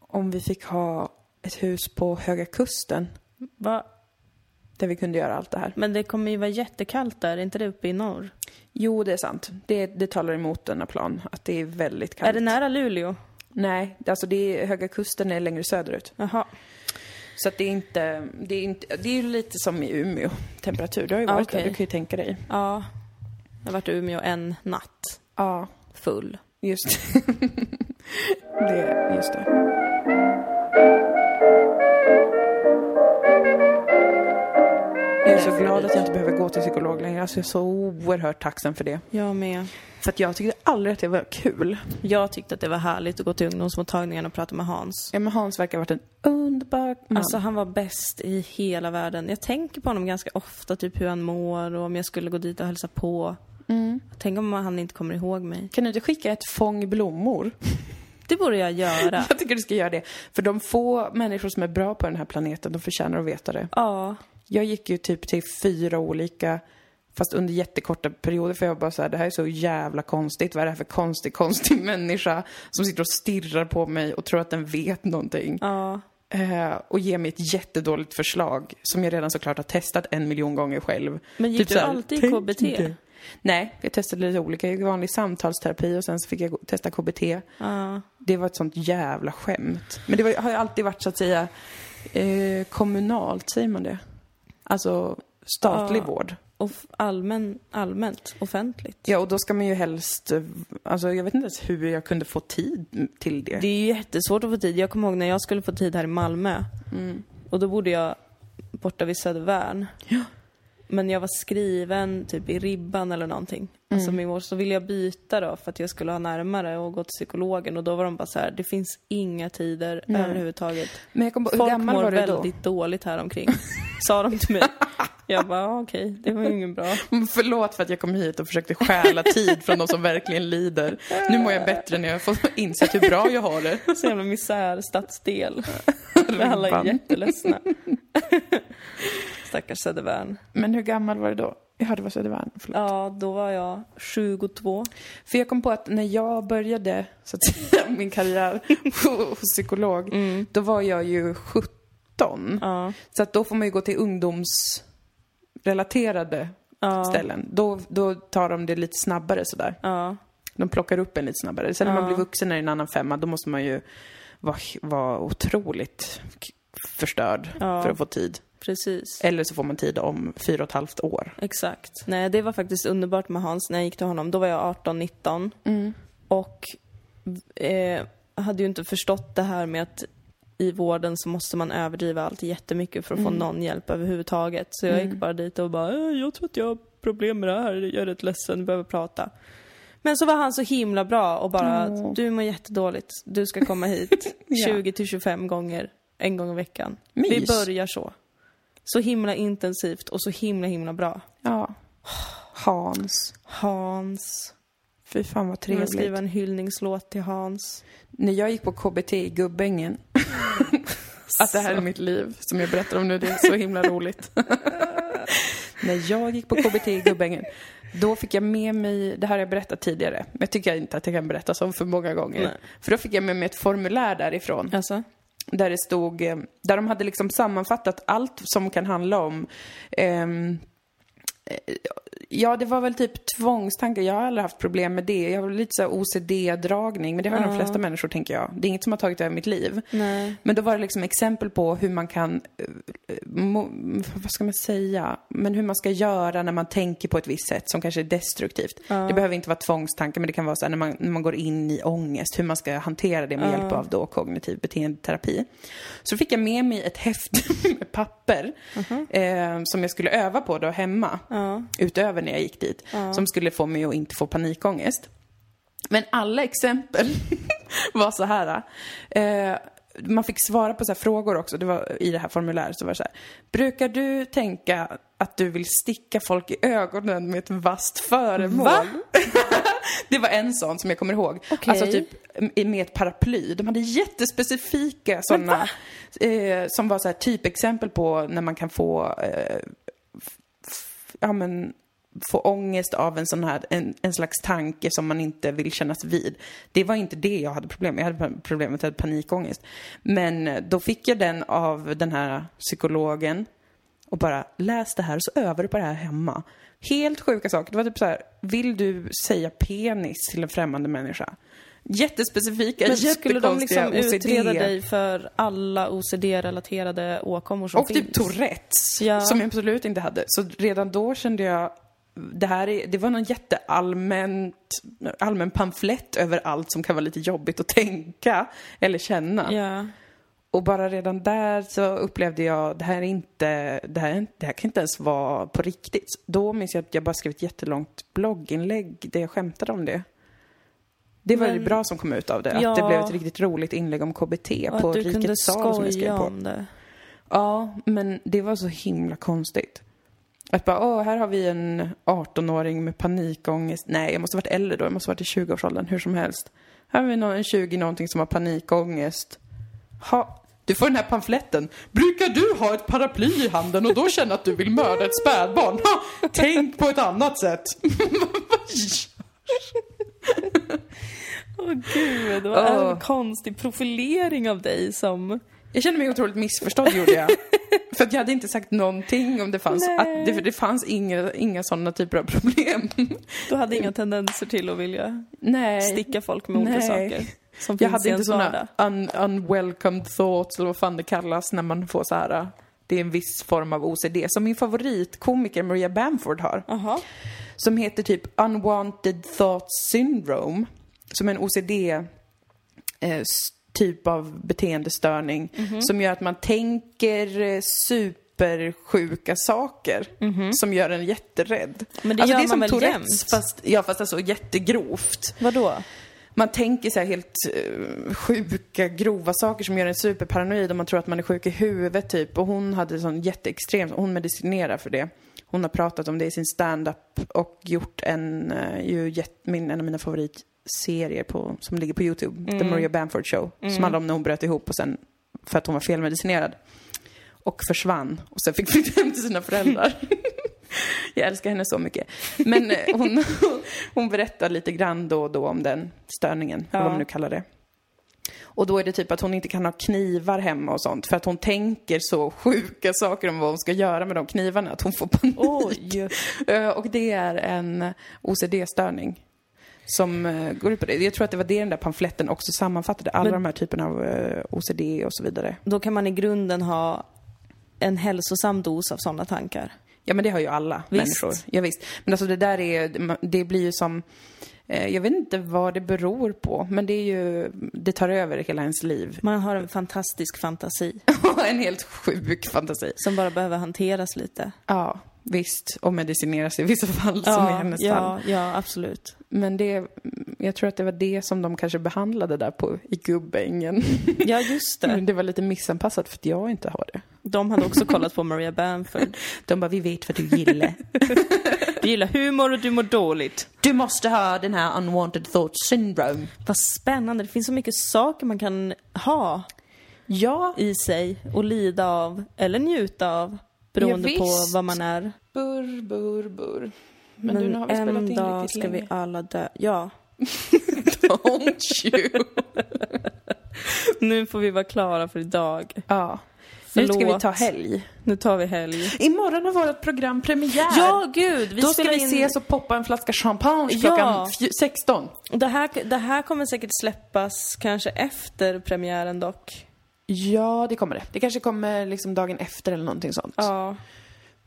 S2: om vi fick ha ett hus på Höga Kusten
S1: Va?
S2: där vi kunde göra allt det här.
S1: Men det kommer ju vara jättekallt där, är inte det uppe i norr?
S2: Jo, det är sant. Det, det talar emot denna plan, att det är väldigt kallt.
S1: Är det nära Luleå?
S2: Nej, alltså det är, Höga Kusten är längre söderut.
S1: Jaha.
S2: Så att det är inte, det är inte, det är ju lite som i Umeå. Temperatur, du har ju varit
S1: Ah, Okej.
S2: där, du kan ju tänka dig.
S1: Ja. Jag har varit i Umeå en natt.
S2: Ja,
S1: Full.
S2: just [LAUGHS] det. Just det. Jag är så glad att jag inte behöver gå till psykolog längre. Alltså jag är så oerhört tacksam för det.
S1: Jag med.
S2: För att jag tyckte aldrig att det var kul.
S1: Jag tyckte att det var härligt att gå till ungdomsmottagningen och prata med Hans.
S2: Ja, men Hans verkar ha varit en underbar man.
S1: Alltså han var bäst i hela världen. Jag tänker på honom ganska ofta, typ hur han mår och om jag skulle gå dit och hälsa på. Tänk om han inte kommer ihåg mig.
S2: kan du inte skicka ett fång blommor?
S1: Det borde jag göra.
S2: [LAUGHS] Jag tycker du ska göra det. För de få människor som är bra på den här planeten, de förtjänar att veta det.
S1: Ja.
S2: Jag gick ju typ till fyra olika, fast under jättekorta perioder för jag bara så här, det här är så jävla konstigt. Vad är det här för konstig, konstig [LAUGHS] människa som sitter och stirrar på mig och tror att den vet någonting?
S1: Ja.
S2: Eh, och ger mig ett jättedåligt förslag som jag redan såklart har testat en miljon gånger själv. Typ
S1: Men gick du
S2: så här,
S1: alltid
S2: "Tänk
S1: KBT?"
S2: inte. Nej, jag testade lite olika. Jag gick vanlig samtalsterapi och sen så fick jag gå- testa KBT.
S1: Ja.
S2: Det var ett sånt jävla skämt. Men det var, har ju alltid varit så att säga eh, kommunalt, säger man det? Alltså statlig
S1: Ja.
S2: vård.
S1: Och f- allmän, allmänt, offentligt.
S2: Ja, och då ska man ju helst, eh, alltså jag vet inte ens hur jag kunde få tid till det.
S1: Det är ju jättesvårt att få tid. Jag kommer ihåg när jag skulle få tid här i Malmö.
S2: Mm.
S1: Och då bodde jag borta vid Södervärn. Men jag var skriven typ i ribban eller någonting.
S2: Mm.
S1: Alltså min vård. Så ville jag byta då för att jag skulle ha närmare och gå till psykologen. Och då var de bara så här, det finns inga tider överhuvudtaget.
S2: Men jag kom på, hur
S1: Folk
S2: gammal
S1: mår
S2: var du då?
S1: väldigt dåligt här omkring. [LAUGHS] Sa de till mig. Jag bara, ah, okej, det var ju ingen bra.
S2: Mm, Förlåt för att jag kom hit och försökte stjäla tid från de som verkligen lider. Nu mår jag bättre när jag har fått insett hur bra jag har det.
S1: Så jävla misär,
S2: [LAUGHS]
S1: stadsdel. Där alla är
S2: Ribban.
S1: jätteledsna. [LAUGHS] Stackars Södervärn.
S2: Men hur gammal var du då? Ja, det var Södermalm. Förlåt.
S1: Ja, då var jag 22.
S2: För jag kom på att när jag började så att säga, [LAUGHS] min karriär hos psykolog, då var jag ju 17.
S1: Mm. Ja.
S2: Så att då får man ju gå till ungdomsrelaterade ställen. Då, då tar de det lite snabbare sådär.
S1: Ja.
S2: De plockar upp en lite snabbare. Sen när man blir vuxen är det en annan femma. Då måste man ju vara, vara otroligt k- förstörd
S1: Ja.
S2: för att få tid.
S1: Precis.
S2: Eller så får man tid om fyra och ett halvt år.
S1: Exakt. Nej, det var faktiskt underbart med Hans när jag gick till honom. Då var jag 18-19
S2: Mm.
S1: och eh, hade ju inte förstått det här med att i vården så måste man överdriva allt jättemycket för att
S2: Mm.
S1: få någon hjälp överhuvudtaget. Så jag gick bara dit och bara "Eh, “jag tror att jag har problem med det här, jag är rätt ledsen, behöver prata”. Men så var han så himla bra och bara “du mår jättedåligt, du ska komma hit
S2: [LAUGHS] Ja.
S1: 20 till 25 gånger, en gång i veckan. Vi
S2: Mys.
S1: börjar så. Så himla intensivt och så himla himla bra.
S2: Ja. Hans.
S1: Hans.
S2: Fy fan vad
S1: Jag vill
S2: trevligt.
S1: skriva en hyllningslåt till Hans.
S2: När jag gick på KBT i Gubbängen. [LAUGHS] att det här är mitt liv som jag berättar om nu, det är så himla roligt. När jag gick på KBT i Gubbängen, då fick jag med mig, det här har jag berättat tidigare, men jag tycker inte att jag kan berätta så för många gånger.
S1: Nej.
S2: För då fick jag med mig ett formulär därifrån.
S1: Alltså?
S2: Där det stod, eh, där de hade liksom sammanfattat allt som kan handla om ehm, eh, Ja, det var väl typ tvångstankar. Jag har aldrig haft problem med det. Jag har väl lite så här OCD-dragning, men det har de flesta människor, tänker jag. Det är inget som har tagit över mitt liv.
S1: Nej.
S2: Men då var det liksom exempel på hur man kan, eh, mo- vad ska man säga, men hur man ska göra när man tänker på ett visst sätt som kanske är destruktivt. Det behöver inte vara tvångstankar men det kan vara så här, när, man, när man går in i ångest, hur man ska hantera det med hjälp av då kognitiv beteendeterapi. Så fick jag med mig ett häfte med [LAUGHS] papper eh, som jag skulle öva på då hemma, utöver när jag gick dit, som skulle få mig att inte få panikångest. Men alla exempel [LAUGHS] var så här. Eh, man fick svara på så här frågor också. Det var i det här formuläret så var det så här. Brukar du tänka att du vill sticka folk i ögonen med ett vasst föremål?
S1: Va?
S2: [LAUGHS] det var en sån som jag kommer ihåg.
S1: Okej.
S2: Alltså typ i- med ett paraply. De hade jättespecifika sådana eh, som var så här typexempel på när man kan få eh, ja, men, få ångest av en sån här, en, en slags tanke som man inte vill kännas vid. Det var inte det jag hade problem med. Jag hade pa- problem med att jag hade panikångest. Men eh, då fick jag den av den här psykologen och bara läs det här och så övar du på det här hemma. Helt sjuka saker. Det var typ så här, vill du säga penis till en främmande människa? Jättespecifika,
S1: Men skulle de
S2: jättekonstiga
S1: liksom utreda
S2: OCD.
S1: dig för alla OCD-relaterade åkommor som
S2: Och
S1: finns?
S2: typ Tourettes,
S1: Ja.
S2: som jag absolut inte hade. Så redan då kände jag, det här är, det var någon jätteallmänt, allmän pamflett över allt som kan vara lite jobbigt att tänka eller känna.
S1: Ja.
S2: Och bara redan där så upplevde jag, det här är inte, det här, är inte- det här kan inte ens vara på riktigt. Då minns jag att jag bara skrev ett jättelångt blogginlägg där jag skämtade om det. Det var
S1: Men-
S2: det bra som kom ut av det, att det
S1: Ja.
S2: blev ett riktigt roligt inlägg om KBT
S1: Och att
S2: på
S1: du kunde
S2: Rikets sal som jag skrev
S1: skoja
S2: på.
S1: om det.
S2: Ja, men det var så himla konstigt. Att bara, åh, här har vi en 18-åring med panikångest. Nej, jag måste ha varit äldre då, jag måste ha varit i 20-årsåldern, hur som helst. Här har vi någon, en 20-någonting som har panikångest. Ha, du får den här pamfletten. Brukar du ha ett paraply i handen och då känna att du vill mörda ett spädbarn? Ha, tänk på ett annat sätt.
S1: Åh gud, det var
S2: Åh.
S1: en konstig profilering av dig som...
S2: Jag kände mig otroligt missförstådd gjorde [LAUGHS] jag. För att jag hade inte sagt någonting om det fanns,
S1: Nej.
S2: att det, det fanns inga, inga sådana typer av problem.
S1: Du hade inga tendenser till att vilja
S2: Nej.
S1: sticka folk med olika
S2: Nej.
S1: saker. Som
S2: Jag
S1: finns
S2: hade
S1: i
S2: inte
S1: ens vardag.
S2: såna un unwelcome thoughts eller vad fan det kallas när man får så här. Det är en viss form av OCD som min favoritkomiker Maria Bamford har.
S1: Jaha.
S2: Som heter typ unwanted thoughts syndrome. Som är en OCD eh, s- typ av beteendestörning
S1: Mhm.
S2: som gör att man tänker eh, supersjuka saker som gör en jätterädd. Alltså,
S1: Men Mhm. Alltså, det gör
S2: det är
S1: man
S2: som
S1: väl
S2: Tourettes
S1: jämt?
S2: fast, ja, fast alltså jättegrovt.
S1: Vadå?
S2: Man tänker så här helt eh, sjuka, grova saker som gör en superparanoid och man tror att man är sjuk i huvudet typ. Och hon hade sån jätteextrem, hon medicinerar för det. Hon har pratat om det i sin stand-up och gjort en, eh, ju jätt, min, en av mina favoritserier på, som ligger på YouTube, The Maria Bamford Show, som handlar om när hon bröt ihop och sen för att hon var felmedicinerad. Och försvann och sen fick flytta hem till sina föräldrar. Jag älskar henne så mycket. Men eh, hon, [LAUGHS] hon berättar lite grann då och då om den störningen, vad man nu kallar det. Och då är det typ att hon inte kan ha knivar hemma och sånt för att hon tänker så sjuka saker om vad hon ska göra med de knivarna att hon får panik.
S1: Oj.
S2: [LAUGHS] Eh, Och det är en OCD-störning som eh, går ut på det. Jag tror att det var det den där pamfletten också sammanfattade, alla de här typerna av eh, OCD och så vidare.
S1: Då kan man i grunden ha en hälsosam dos av sådana tankar.
S2: Ja men det har ju alla
S1: Visst.
S2: människor. Ja, visst. Men alltså det där är, det blir ju som, eh, jag vet inte vad det beror på, men det är ju, det tar över hela ens liv. [LAUGHS]
S1: Man har en fantastisk fantasi
S2: en helt sjuk fantasi.
S1: som bara behöver hanteras lite.
S2: Ja, visst. Och medicineras i vissa fall som i hennes fall.
S1: ja, ja, absolut.
S2: Men det, jag tror att det var det som de kanske behandlade där på, i Gubbängen.
S1: Ja, just
S2: Men
S1: det.
S2: det var lite missanpassat för att jag inte har det.
S1: De hade också kollat på Maria Bamford.
S2: [LAUGHS] De bara, vi vet vad du gillar.
S1: Du gillar humor och du mår dåligt.
S2: Du måste ha den här unwanted thought syndrome.
S1: Vad spännande, det finns så mycket saker man kan ha
S2: Ja,
S1: i sig och lida av, eller njuta av, beroende
S2: Ja,
S1: på
S2: visst.
S1: vad man är.
S2: burr, burr, burr. Men,
S1: Men,
S2: du, nu har vi spelat in
S1: en
S2: riktigt
S1: dag ska
S2: länge.
S1: vi alla dö. Ja,
S2: [LAUGHS] Don't you?
S1: nu får vi vara klara för idag.
S2: ja.
S1: Förlåt.
S2: Nu ska vi ta helg.
S1: Nu tar vi helg.
S2: Imorgon har vårt program premiär.
S1: Ja, gud! Vi
S2: Då ska
S1: spelar
S2: vi
S1: in...
S2: ses och poppa en flaska champagne klockan
S1: Ja.
S2: fj- 16.
S1: Det här, det här kommer säkert släppas kanske efter premiären dock.
S2: Ja, det kommer det. Det kanske kommer liksom dagen efter eller någonting sånt.
S1: Ja.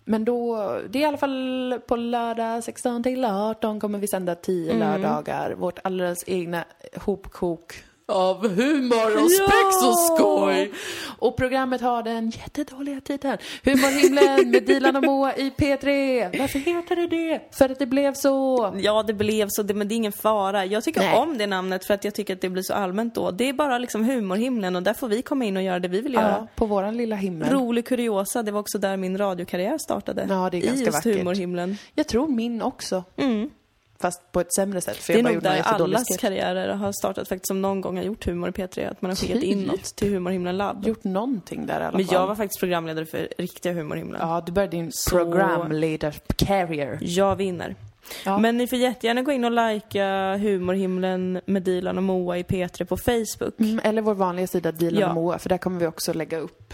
S2: Men då, det är i alla fall på lördag 16 till 18 kommer vi sända 10 lördagar. Vårt alldeles egna hopkok av humor och
S1: Ja!
S2: spex och skoj. Och programmet har den jättedåliga titeln Humorhimlen med Dilan och Moa i P3. Varför heter det det? För att det blev så.
S1: Ja, det blev så, det, men det är ingen fara. Jag tycker
S2: Nej.
S1: om det namnet för att jag tycker att det blir så allmänt då. Det är bara liksom humorhimlen och där får vi komma in och göra det vi vill göra.
S2: Ja, på våran lilla himmel.
S1: Rolig kuriosa, det var också där min radiokarriär startade.
S2: Ja, det är
S1: I
S2: ganska
S1: just
S2: vackert.
S1: humorhimlen.
S2: Jag tror min också. Fast på ett sämre sätt för
S1: Det
S2: jag
S1: är
S2: bara
S1: nog
S2: gjorde någon
S1: där
S2: jättedålig
S1: allas
S2: sketch.
S1: karriärer har startat faktiskt, som någon gång har gjort humor i P3. Att man har skickat in
S2: Typ.
S1: något till humorhimlen labb.
S2: Gjort någonting där i alla fall.
S1: Men jag var faktiskt programledare för riktiga humorhimlen.
S2: Ja, du började din programleader carrier.
S1: Jag vinner.
S2: Ja.
S1: Men ni får jättegärna gå in och likea humorhimlen med Dilan och Moa i P3 på Facebook.
S2: Mm, eller vår vanliga sida Dilan
S1: Ja.
S2: och Moa, för där kommer vi också lägga upp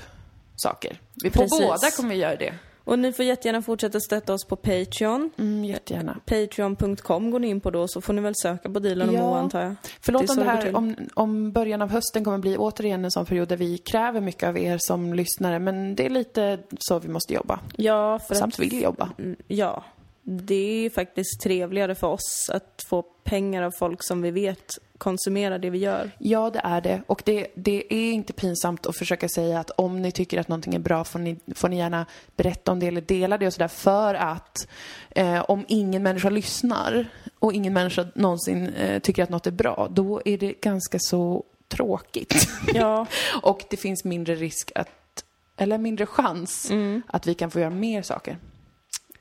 S2: saker. Vi, på
S1: Precis.
S2: båda kommer vi göra det.
S1: Och ni får jättegärna fortsätta stötta oss på Patreon.
S2: Mm, jättegärna.
S1: Patreon.com går ni in på då så får ni väl söka på Dilan och
S2: Ja.
S1: Moa antar jag. Det är
S2: Förlåt
S1: så
S2: om det
S1: går till.
S2: här, om, om början av hösten kommer bli återigen en sån period där vi kräver mycket av er som lyssnare, men det är lite så vi måste jobba.
S1: Ja, för att,
S2: Samt vill jobba.
S1: ja. Det är faktiskt trevligare för oss att få pengar av folk som vi vet konsumerar det vi gör.
S2: Ja, det är det. Och det, det är inte pinsamt att försöka säga att om ni tycker att någonting är bra får ni, får ni gärna berätta om det eller dela det och sådär. För att eh, om ingen människa lyssnar och ingen människa någonsin eh, tycker att något är bra, då är det ganska så tråkigt. [LAUGHS]
S1: Ja,
S2: och det finns mindre risk att, eller mindre chans
S1: Mm.
S2: att vi kan få göra mer saker.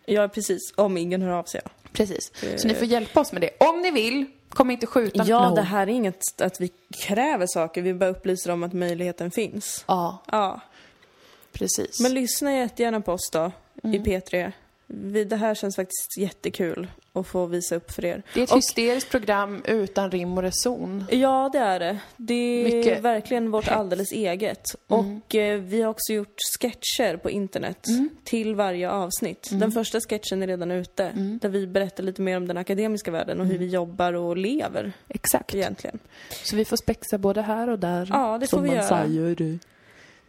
S1: ja precis. Om ingen hör av sig. ja.
S2: Precis. Så ni får hjälpa oss med det. Om ni vill, kom inte skjuta
S1: Ja,
S2: någon.
S1: det här är inget att vi kräver saker, vi bara upplyser om att möjligheten finns.
S2: Ja,
S1: Ja.
S2: precis.
S1: Men lyssna jättegärna på oss då, i P3. Vi, det här känns faktiskt jättekul att få visa upp för er.
S2: Det är ett
S1: Och,
S2: hysteriskt program utan rim och reson.
S1: ja, det är det. Det är
S2: Mycket
S1: verkligen vårt alldeles eget. Och eh, vi har också gjort sketcher på internet till varje avsnitt. Den första sketchen är redan ute, där vi berättar lite mer om den akademiska världen och hur vi jobbar och lever
S2: Exakt.
S1: egentligen.
S2: Så vi får spexa både här och där.
S1: Ja, det
S2: som
S1: får vi
S2: man
S1: göra.
S2: säger.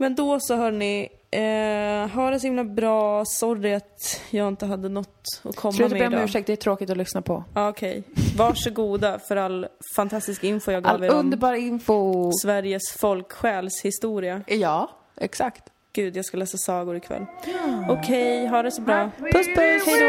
S1: Men då så hörni, eh, ha det så himla bra. Sorry att jag inte hade något att komma
S2: Tror jag
S1: med
S2: ber om
S1: idag.
S2: ursäkt, det är tråkigt att lyssna på.
S1: Ja, Okej. Varsågoda för all fantastisk info jag gav
S2: All
S1: er om
S2: underbar info.
S1: Sveriges folksjäls historia.
S2: Ja, exakt.
S1: Gud, jag ska läsa sagor ikväll. Okej, ha det så bra.
S2: Puss puss, hejdå!